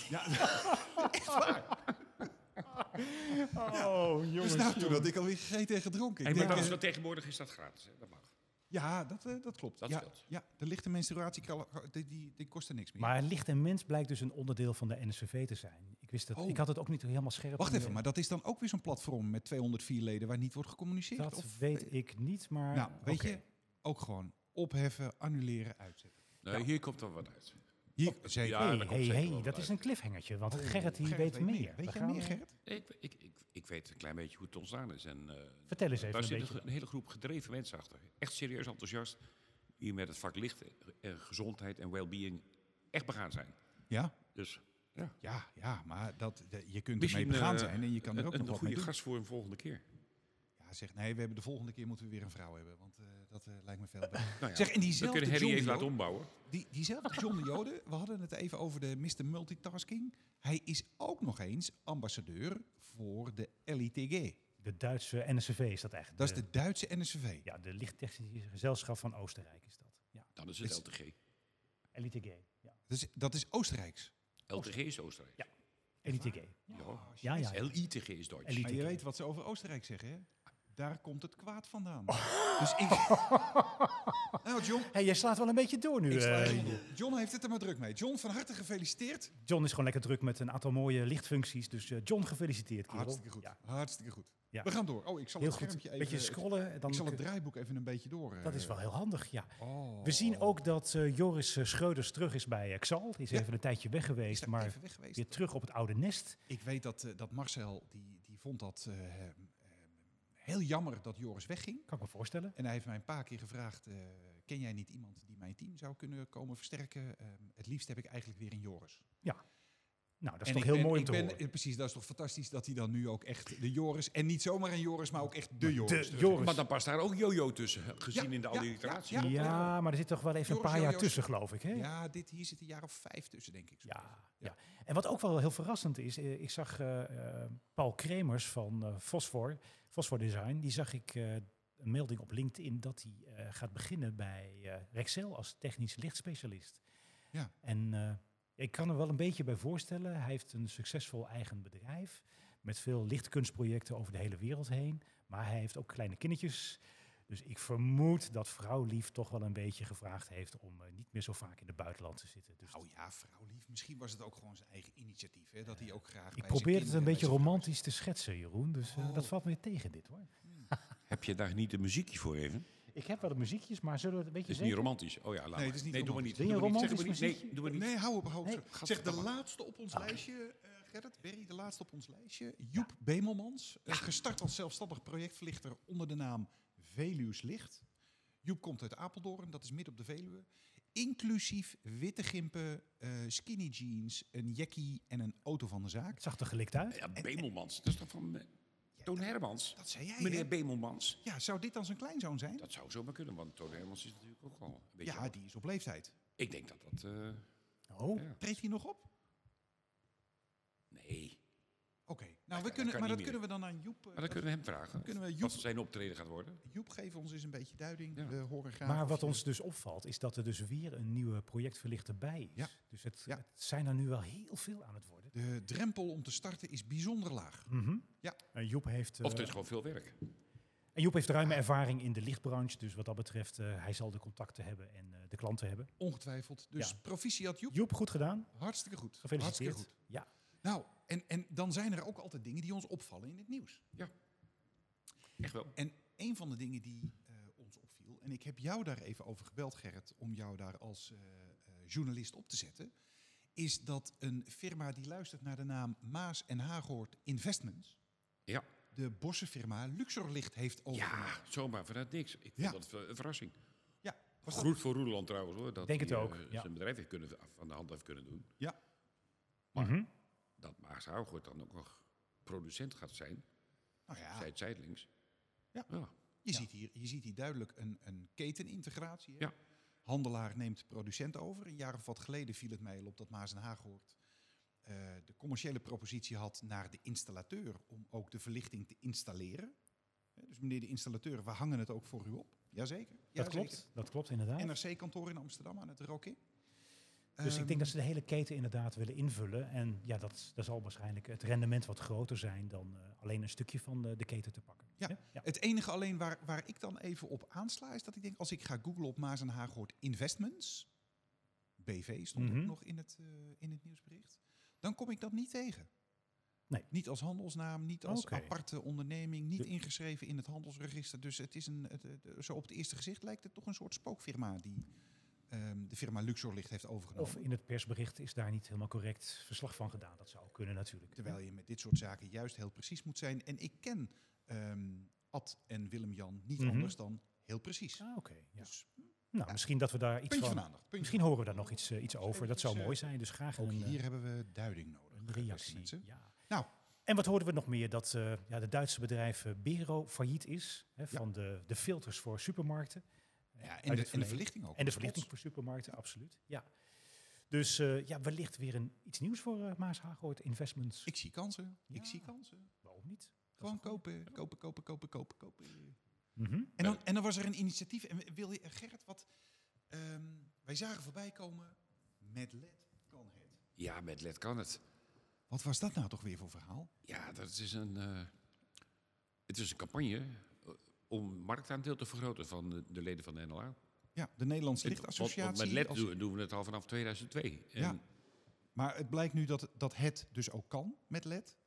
Speaker 2: ja,
Speaker 3: Oh, jongens.
Speaker 2: dus nou, toen had ik alweer gegeten en gedronken. Ik
Speaker 4: Hey, maar
Speaker 2: denk,
Speaker 4: dat
Speaker 2: eh,
Speaker 4: is dat tegenwoordig is dat gratis. Hè? Dat mag.
Speaker 2: ja, dat, eh, dat klopt.
Speaker 4: Dat
Speaker 2: ja,
Speaker 4: scheelt.
Speaker 2: ja, de lichte menstruatieklachten, die, die, die kosten niks meer.
Speaker 3: Maar licht en mens blijkt dus een onderdeel van de NSVV te zijn. Ik, wist dat,
Speaker 2: Oh.
Speaker 3: ik had het ook niet helemaal scherp.
Speaker 2: Wacht
Speaker 3: in de-
Speaker 2: even, maar dat is dan ook weer zo'n platform met 204 leden waar niet wordt gecommuniceerd?
Speaker 3: Dat
Speaker 2: Of-
Speaker 3: weet ik niet, maar...
Speaker 2: Nou, weet
Speaker 3: oké.
Speaker 2: je, ook gewoon opheffen, annuleren, uitzetten.
Speaker 4: Nee, hier komt er wat uit.
Speaker 2: Hier,
Speaker 3: Oh,
Speaker 2: zeker.
Speaker 3: Hey,
Speaker 4: Ja, daar komt
Speaker 3: hey,
Speaker 4: zeker
Speaker 3: hey,
Speaker 4: wel wat
Speaker 3: dat
Speaker 4: uit.
Speaker 3: is een cliffhangertje, want Oh, Gerrit, die
Speaker 2: Oh, Gerrit
Speaker 3: weet, meer. We
Speaker 2: Weet jij
Speaker 3: gaan,
Speaker 2: meer,
Speaker 3: eh,
Speaker 2: Gerrit?
Speaker 4: Nee, ik, ik, ik, ik weet een klein beetje hoe het ontstaan is. En, eh,
Speaker 3: Vertel eens even
Speaker 4: daar
Speaker 3: een
Speaker 4: zit een,
Speaker 3: beetje.
Speaker 4: ge- een hele groep gedreven mensen achter. Echt serieus enthousiast. Die met het vak licht, eh, gezondheid en well-being echt begaan zijn.
Speaker 2: Ja?
Speaker 4: Dus
Speaker 2: Ja, ja, maar dat, de- je kunt
Speaker 4: misschien
Speaker 2: ermee begaan
Speaker 4: eh,
Speaker 2: zijn en je kan er ook
Speaker 4: een,
Speaker 2: nog
Speaker 4: een
Speaker 2: wat mee
Speaker 4: goede
Speaker 2: doen.
Speaker 4: gast voor een volgende keer.
Speaker 2: Ja, zeg, nee, we hebben de volgende keer moeten we weer een vrouw hebben, want eh, dat eh, lijkt me veel beter.
Speaker 4: Nou ja,
Speaker 2: Zeg, en
Speaker 4: we
Speaker 2: diezelfde
Speaker 4: kunnen
Speaker 2: John,
Speaker 4: Harry
Speaker 2: de
Speaker 4: even laten
Speaker 2: Jode-
Speaker 4: ombouwen.
Speaker 2: die, diezelfde John de Jode, we hadden het even over de Mr. Multitasking. Hij is ook nog eens ambassadeur voor de LITG.
Speaker 3: De Duitse NSVV is dat echt.
Speaker 2: Dat is de Duitse NSV.
Speaker 3: Ja, de lichttechnische gezelschap van Oostenrijk is dat. Ja.
Speaker 4: Dan is het
Speaker 2: Is-
Speaker 4: LTG.
Speaker 3: Elite Gay. Ja.
Speaker 2: Dat is, dat is Oostenrijks.
Speaker 4: LTG is Oostenrijk.
Speaker 3: Ja. Elite Gay.
Speaker 4: Ja.
Speaker 2: Ah,
Speaker 3: Ja, ja. ja.
Speaker 4: LITG is Duits.
Speaker 3: Elite
Speaker 2: Maar je
Speaker 3: Gay.
Speaker 2: weet wat ze over Oostenrijk zeggen, hè? Daar komt het kwaad vandaan.
Speaker 3: Oh.
Speaker 2: Dus ik... nou, John,
Speaker 3: Hey, jij slaat wel een beetje door nu.
Speaker 2: ik sla
Speaker 3: eh,
Speaker 2: John op. John heeft het er maar druk mee. John, van harte gefeliciteerd.
Speaker 3: John is gewoon lekker druk met een aantal mooie lichtfuncties. Dus eh, John, gefeliciteerd, kerel.
Speaker 2: Hartstikke goed.
Speaker 3: Ja,
Speaker 2: Hartstikke goed.
Speaker 3: Ja.
Speaker 2: We gaan door. Oh, ik zal
Speaker 3: heel
Speaker 2: het
Speaker 3: goed.
Speaker 2: schermpje
Speaker 3: Een
Speaker 2: even...
Speaker 3: beetje scrollen. en Dan
Speaker 2: ik zal het draaiboek even een beetje door... eh,
Speaker 3: dat is wel heel handig, ja.
Speaker 2: Oh.
Speaker 3: We zien ook dat eh, Joris eh, Schreuders terug is bij eh, Xal. Die is
Speaker 2: Ja.
Speaker 3: even een tijdje weg
Speaker 2: Is
Speaker 3: geweest,
Speaker 2: dat
Speaker 3: maar
Speaker 2: even weg geweest?
Speaker 3: weer terug op het oude nest.
Speaker 2: Ik weet dat, eh, dat Marcel, die, die vond dat eh, hem, eh, heel jammer dat Joris wegging.
Speaker 3: Kan ik me voorstellen.
Speaker 2: En hij heeft mij een paar keer gevraagd, eh, ken jij niet iemand die mijn team zou kunnen komen versterken? Eh, het liefst heb ik eigenlijk weer een Joris.
Speaker 3: Nou, dat is
Speaker 2: En
Speaker 3: toch
Speaker 2: ik
Speaker 3: heel
Speaker 2: ben-
Speaker 3: mooi om
Speaker 2: ik
Speaker 3: te
Speaker 2: ben-
Speaker 3: horen.
Speaker 2: eh, Precies, dat is toch fantastisch dat hij dan nu ook echt de Joris... En niet zomaar een Joris, maar ook echt de Joris. Dus- terug heeft.
Speaker 3: Joris.
Speaker 4: Maar dan past daar ook Jojo tussen, gezien
Speaker 2: Ja,
Speaker 4: in de
Speaker 2: ja,
Speaker 4: alle
Speaker 2: ja,
Speaker 4: iteraties.
Speaker 2: ja.
Speaker 3: ja, maar er zit toch wel even
Speaker 2: Joris,
Speaker 3: een paar jaar
Speaker 2: Joris.
Speaker 3: tussen, geloof ik. Hè?
Speaker 2: Ja, dit, hier zit een jaar of vijf tussen, denk ik. zo.
Speaker 3: Ja, ja. En wat ook wel heel verrassend is, eh, ik zag eh, eh, Paul Kremers van eh Fosfor, Fosfor Design, die zag ik eh, een melding op LinkedIn dat hij eh, gaat beginnen bij eh, Rexel als technisch lichtspecialist.
Speaker 2: Ja.
Speaker 3: En eh, ik kan er wel een beetje bij voorstellen, hij heeft een succesvol eigen bedrijf met veel lichtkunstprojecten over de hele wereld heen, maar hij heeft ook kleine kindertjes. Dus ik vermoed dat vrouwlief toch wel een beetje gevraagd heeft om eh, niet meer zo vaak in het buitenland te zitten. Dus
Speaker 2: Nou ja, vrouwlief. Misschien was het ook gewoon zijn eigen initiatief. Hè? Dat hij ook graag. bij
Speaker 3: Ik
Speaker 2: zijn
Speaker 3: probeer het
Speaker 2: kinderen
Speaker 3: een
Speaker 2: bij
Speaker 3: beetje
Speaker 2: zijn vrouw-
Speaker 3: romantisch te schetsen, Jeroen. Dus eh, dat
Speaker 2: Oh.
Speaker 3: valt weer tegen dit hoor.
Speaker 4: Heb je daar niet de muziekje voor even?
Speaker 3: Ik heb wel de muziekjes, maar zullen we het een
Speaker 4: Het
Speaker 3: beetje
Speaker 4: is niet romantisch. Oh ja, laat
Speaker 2: Nee,
Speaker 4: maar.
Speaker 2: het is niet
Speaker 4: nee, doe maar
Speaker 2: romantisch.
Speaker 3: Wil
Speaker 4: niet.
Speaker 3: je
Speaker 4: Doe maar niet. Zeg
Speaker 3: romantisch
Speaker 4: maar niet. Nee,
Speaker 3: muziekje?
Speaker 4: doe maar niet.
Speaker 2: Nee, hou op, hou op.
Speaker 3: Nee, Ah.
Speaker 2: Zeg,
Speaker 4: gadverdamme.
Speaker 2: zeg, de laatste op ons lijstje, eh Gerrit, Berry, de laatste op ons lijstje. Joep Bemelmans, eh, gestart als zelfstandig projectverlichter onder de naam Veluws Licht. Joep komt uit Apeldoorn, dat is midden op de Veluwe. Inclusief witte gimpen, eh, skinny jeans, een jackie en een auto van de zaak.
Speaker 3: Het zag er gelikt uit.
Speaker 4: Ja, Bemelmans. Dat is toch van eh, Toon Hermans?
Speaker 2: Dat zei jij, hè?
Speaker 4: Meneer Bemelmans.
Speaker 2: Ja, zou dit dan zijn kleinzoon zijn?
Speaker 4: Dat zou zomaar kunnen, want Toon Hermans is natuurlijk ook al een beetje...
Speaker 2: Ja, die is op leeftijd.
Speaker 4: Ik denk dat dat... eh,
Speaker 3: Oh,
Speaker 4: ja.
Speaker 2: Treedt hij nog op?
Speaker 4: Nee,
Speaker 2: Oké, nou, we
Speaker 4: kan-
Speaker 2: kunnen,
Speaker 4: kan
Speaker 2: maar
Speaker 4: niet
Speaker 2: dat
Speaker 4: meer.
Speaker 2: kunnen we dan aan Joep, eh,
Speaker 4: maar dan kunnen we hem vragen.
Speaker 2: Kunnen we Joep-
Speaker 4: Wat zijn optreden gaat worden.
Speaker 2: Joep, geef ons eens een beetje duiding.
Speaker 4: Ja.
Speaker 2: We horen graag.
Speaker 3: maar
Speaker 2: of
Speaker 3: wat
Speaker 2: je-
Speaker 3: ons dus opvalt, is dat er dus weer een nieuwe projectverlichter bij is.
Speaker 2: Ja.
Speaker 3: Dus het,
Speaker 2: Ja.
Speaker 3: het zijn er nu wel heel veel aan het worden.
Speaker 2: De drempel om te starten is bijzonder laag.
Speaker 3: Mhm.
Speaker 2: Ja.
Speaker 3: En Joep heeft, eh,
Speaker 4: Of dus- het is gewoon veel werk.
Speaker 3: en Joep heeft ruime ervaring in de lichtbranche. Dus wat dat betreft, eh, hij zal de contacten hebben en eh, de klanten hebben.
Speaker 2: Ongetwijfeld. Dus
Speaker 3: Ja.
Speaker 2: proficiat Joep.
Speaker 3: Joep, goed gedaan.
Speaker 2: Hartstikke goed.
Speaker 3: Gefeliciteerd.
Speaker 2: Hartstikke goed.
Speaker 3: Ja.
Speaker 2: Nou, en, en dan zijn er ook altijd dingen die ons opvallen in het nieuws.
Speaker 4: Echt wel.
Speaker 2: En een van de dingen die eh, ons opviel, en ik heb jou daar even over gebeld, Gerrit, om jou daar als eh, eh, journalist op te zetten, is dat een firma die luistert naar de naam Maas en Hagoort Investments,
Speaker 4: Ja.
Speaker 2: de Bossenfirma Luxorlicht heeft overgenomen.
Speaker 4: Ja, zomaar vanuit niks. Ik vond
Speaker 2: Ja.
Speaker 4: dat eh, een verrassing.
Speaker 2: Ja, was dat-
Speaker 4: Groet voor Roeland trouwens hoor. Dat
Speaker 3: Denk het
Speaker 4: hij,
Speaker 3: ook,
Speaker 4: eh,
Speaker 3: ja.
Speaker 4: Zijn bedrijf heeft kunnen, van de hand heeft kunnen doen.
Speaker 2: Ja.
Speaker 4: Maar
Speaker 3: Mhm.
Speaker 4: dat Maas Hougoort dan ook nog producent gaat zijn,
Speaker 2: Nou ja.
Speaker 4: zij het zijdelings.
Speaker 2: Ja.
Speaker 4: ja.
Speaker 2: Je, ziet hier, je ziet hier duidelijk een, een ketenintegratie. hè?
Speaker 4: Ja.
Speaker 2: Handelaar neemt producent over. Een jaar of wat geleden viel het mij op dat Maas en Haaghoort eh, de commerciële propositie had naar de installateur om ook de verlichting te installeren. Hè, Dus meneer de installateur, we hangen het ook voor u op. Jazeker.
Speaker 3: Dat
Speaker 2: jazeker.
Speaker 3: klopt. Dat klopt inderdaad.
Speaker 2: NRC-kantoor in Ehm, Amsterdam aan het Rokin.
Speaker 3: Dus ik denk dat ze de hele keten inderdaad willen invullen. En ja, dat, dat zal waarschijnlijk het rendement wat groter zijn dan eh, alleen een stukje van de, de keten te pakken.
Speaker 2: Ja,
Speaker 3: ja.
Speaker 2: Het enige alleen waar, waar ik dan even op aansla is dat ik denk, als ik ga googlen op Maas en Haaghoort Investments, BV stond
Speaker 3: Mhm.
Speaker 2: ook nog in het, eh, in het nieuwsbericht, dan kom ik dat niet tegen.
Speaker 3: Nee.
Speaker 2: Niet als handelsnaam, niet als
Speaker 3: Oké.
Speaker 2: aparte onderneming, niet
Speaker 3: De-
Speaker 2: ingeschreven in het handelsregister. Dus het is een, het, het- zo op het eerste gezicht lijkt het toch een soort spookfirma die ehm, de firma Luxorlicht heeft overgenomen.
Speaker 3: Of in het persbericht is daar niet helemaal correct verslag van gedaan. Dat zou kunnen natuurlijk.
Speaker 2: Terwijl je met dit soort zaken juist heel precies moet zijn. En ik ken ehm, Ad en Willem-Jan niet
Speaker 3: Mhm.
Speaker 2: anders dan heel precies.
Speaker 3: Ah, oké. ja.
Speaker 2: Dus
Speaker 3: Nou,
Speaker 2: ja.
Speaker 3: misschien dat we daar iets
Speaker 2: puntje
Speaker 3: van...
Speaker 2: van aandacht. puntje
Speaker 3: Misschien horen we daar nog iets, eh, iets over. Dat zou
Speaker 2: eventjes,
Speaker 3: mooi zijn. Dus graag
Speaker 2: Ook
Speaker 3: een, eh,
Speaker 2: hier hebben we duiding nodig.
Speaker 3: een
Speaker 2: beste
Speaker 3: reactie.
Speaker 2: mensen.
Speaker 3: Ja.
Speaker 2: Nou.
Speaker 3: En wat hoorden we nog meer? Dat eh ja, de Duitse bedrijf eh, Bero failliet is. Hè, van de, de filters voor supermarkten.
Speaker 2: Ja,
Speaker 3: Uit
Speaker 2: en, de,
Speaker 3: het
Speaker 2: en de
Speaker 3: verleden.
Speaker 2: verlichting ook.
Speaker 3: En de
Speaker 2: Trots.
Speaker 3: verlichting voor supermarkten, absoluut. Ja. Dus eh, ja, wellicht weer een, iets nieuws voor eh Maas Hagoort Investments.
Speaker 2: Ik zie kansen.
Speaker 3: Ja.
Speaker 2: Ik zie kansen.
Speaker 3: Waarom niet? Dat is
Speaker 2: Gewoon
Speaker 3: een goeie.
Speaker 2: kopen, kopen, kopen, kopen, kopen, kopen.
Speaker 3: Mhm.
Speaker 2: En dan, en dan was er een initiatief. En wil je, Gerrit, wat... ehm, wij zagen voorbij komen Met LED kan het.
Speaker 4: Ja, met LED kan het.
Speaker 2: Wat was dat nou toch weer voor verhaal?
Speaker 4: Ja, dat is een, eh, het is een campagne eh, om marktaandeel te vergroten van de, de leden van de NLA.
Speaker 2: Ja, de Nederlandse
Speaker 4: Want- Want met
Speaker 2: Lichtassociatie.
Speaker 4: LED
Speaker 2: als-
Speaker 4: doen, doen we het al vanaf 2002. En,
Speaker 2: Ja. Maar het blijkt nu dat, dat het dus ook kan met LED.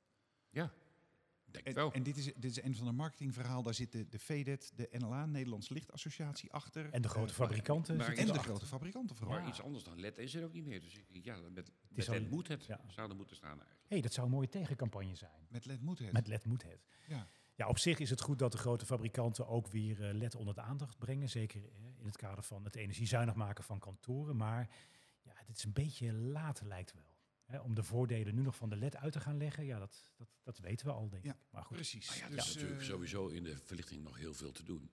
Speaker 4: ja, denk
Speaker 2: En,
Speaker 4: wel.
Speaker 2: en dit, is, dit is een van de marketingverhaal. Daar zit de, de VDET, de NLA, Nederlandse Lichtassociatie, achter.
Speaker 3: En de grote
Speaker 2: Eh,
Speaker 3: fabrikanten.
Speaker 4: maar-
Speaker 3: zitten
Speaker 2: En de
Speaker 3: erachter.
Speaker 2: grote fabrikanten vooral.
Speaker 4: maar iets anders dan LED is er ook niet meer. Dus ik, ja, met, met
Speaker 3: is
Speaker 4: LED
Speaker 3: al-
Speaker 4: moet het.
Speaker 3: ja.
Speaker 4: Zou er moeten staan eigenlijk.
Speaker 3: hey, dat zou een mooie tegencampagne zijn.
Speaker 2: Met LED moet het.
Speaker 3: Met LED moet het.
Speaker 2: Ja.
Speaker 3: Ja, op zich is het goed dat de grote fabrikanten ook weer eh, LED onder de aandacht brengen. Zeker eh, in het kader van het energiezuinig maken van kantoren. Maar ja, dit is een beetje laat lijkt wel. Hè, om de voordelen nu nog van de LED uit te gaan leggen, ja, dat, dat, dat weten we al, denk
Speaker 2: Ja,
Speaker 3: ik. Maar goed,
Speaker 2: Precies.
Speaker 4: Maar Ah ja, er
Speaker 2: dus,
Speaker 4: is natuurlijk
Speaker 2: eh,
Speaker 4: sowieso in de verlichting nog heel veel te doen.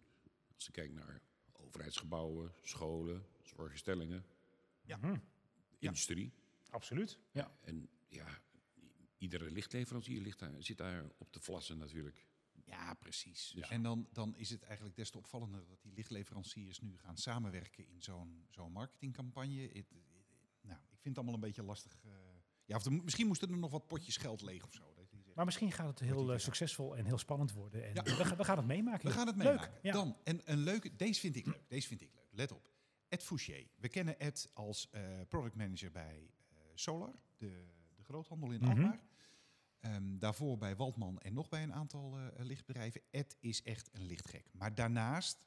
Speaker 4: Als je kijkt naar overheidsgebouwen, scholen, zorginstellingen,
Speaker 2: Ja.
Speaker 3: Mhm.
Speaker 4: industrie.
Speaker 3: absoluut. Ja.
Speaker 4: En ja, i- iedere lichtleverancier ligt daar, zit daar op te vlassen natuurlijk.
Speaker 2: Ja, precies.
Speaker 4: Ja.
Speaker 2: En dan, dan is het eigenlijk des te opvallender dat die lichtleveranciers nu gaan samenwerken in zo'n zo'n marketingcampagne. Het- het- nou, ik vind het allemaal een beetje lastig. eh. ja, of er mo- misschien moesten er nog wat potjes geld leeg of zo. Dat je zegt,
Speaker 3: Maar misschien gaat het heel eh, succesvol en heel spannend worden. En we, gaan- we gaan het meemaken.
Speaker 2: We gaan het
Speaker 3: Leuk,
Speaker 2: meemaken.
Speaker 3: ja.
Speaker 2: Dan, en een leuke, deze vind ik leuk. Deze vind ik leuk. Let op. Ed Fouché. We kennen Ed als eh product manager bij eh, Solar, de, de groothandel in
Speaker 3: Mhm.
Speaker 2: Alkmaar. Ehm, daarvoor bij Waldman en nog bij een aantal eh, lichtbedrijven. Ed is echt een lichtgek. Maar daarnaast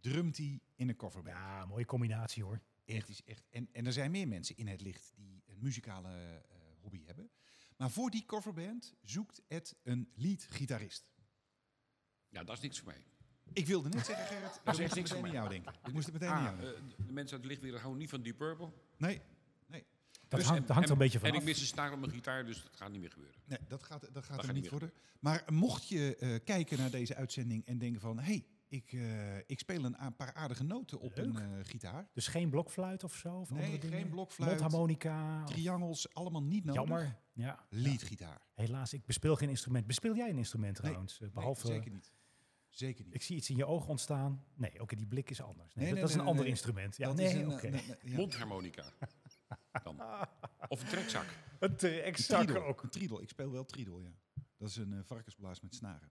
Speaker 2: drumt hij in een coverband.
Speaker 3: Ja, mooie combinatie hoor.
Speaker 2: Echt is echt. En, en er zijn meer mensen in het licht die een muzikale eh, hobby hebben. Maar voor die coverband zoekt Ed een lead-gitarist.
Speaker 4: Ja, dat is niks voor mij.
Speaker 2: Ik wilde net zeggen, Gerrit,
Speaker 4: Dat
Speaker 2: dat
Speaker 4: is
Speaker 2: is
Speaker 4: echt
Speaker 2: meteen
Speaker 4: niks
Speaker 2: aan
Speaker 4: voor
Speaker 2: jou denken. Ik moest het meteen aan
Speaker 4: Ah,
Speaker 2: jou denken.
Speaker 4: eh, de mensen uit de lichtwereld houden niet van Deep Purple.
Speaker 2: Nee, nee,
Speaker 3: Dat
Speaker 4: Dus-
Speaker 3: hangt,
Speaker 4: en-
Speaker 3: dat hangt er
Speaker 4: en-
Speaker 3: een beetje van
Speaker 4: En
Speaker 3: af.
Speaker 4: ik mis een snaar op mijn gitaar, dus dat gaat niet meer gebeuren.
Speaker 2: nee dat gaat, dat gaat
Speaker 4: gaat
Speaker 2: hem
Speaker 4: niet
Speaker 2: niet
Speaker 4: meer
Speaker 2: worden. Maar mocht je eh, kijken naar deze uitzending en denken van... hé, hey, ik, eh, ik speel een a- paar aardige noten op
Speaker 3: Leuk.
Speaker 2: een eh, gitaar.
Speaker 3: Dus geen blokfluit of zo? Of
Speaker 2: Nee,
Speaker 3: andere
Speaker 2: geen
Speaker 3: dingen?
Speaker 2: blokfluit.
Speaker 3: Mondharmonica. of-
Speaker 2: Triangels, allemaal niet nodig.
Speaker 3: Jammer. Ja.
Speaker 2: Leadgitaar.
Speaker 3: Helaas, ik bespeel geen instrument. Bespeel jij een instrument
Speaker 2: Nee,
Speaker 3: trouwens? Eh,
Speaker 2: Nee,
Speaker 3: Behalve,
Speaker 2: zeker niet. Zeker niet.
Speaker 3: ik zie iets in je oog ontstaan. Nee, oké, die blik is anders.
Speaker 2: Nee,
Speaker 3: Nee, dat,
Speaker 2: nee,
Speaker 3: dat is
Speaker 2: nee,
Speaker 3: een
Speaker 2: nee,
Speaker 3: ander
Speaker 2: nee.
Speaker 3: instrument. Ja,
Speaker 2: Dat is
Speaker 3: nee,
Speaker 2: een,
Speaker 3: oké.
Speaker 2: eh, nee, nee, ja.
Speaker 4: Mondharmonica. Dan. Of een trekzak.
Speaker 3: Een te-
Speaker 2: Een
Speaker 3: exact
Speaker 2: tridel,
Speaker 3: ook.
Speaker 2: Een tridel. Ik speel wel tridel, ja. Dat is een eh, varkensblaas met snaren.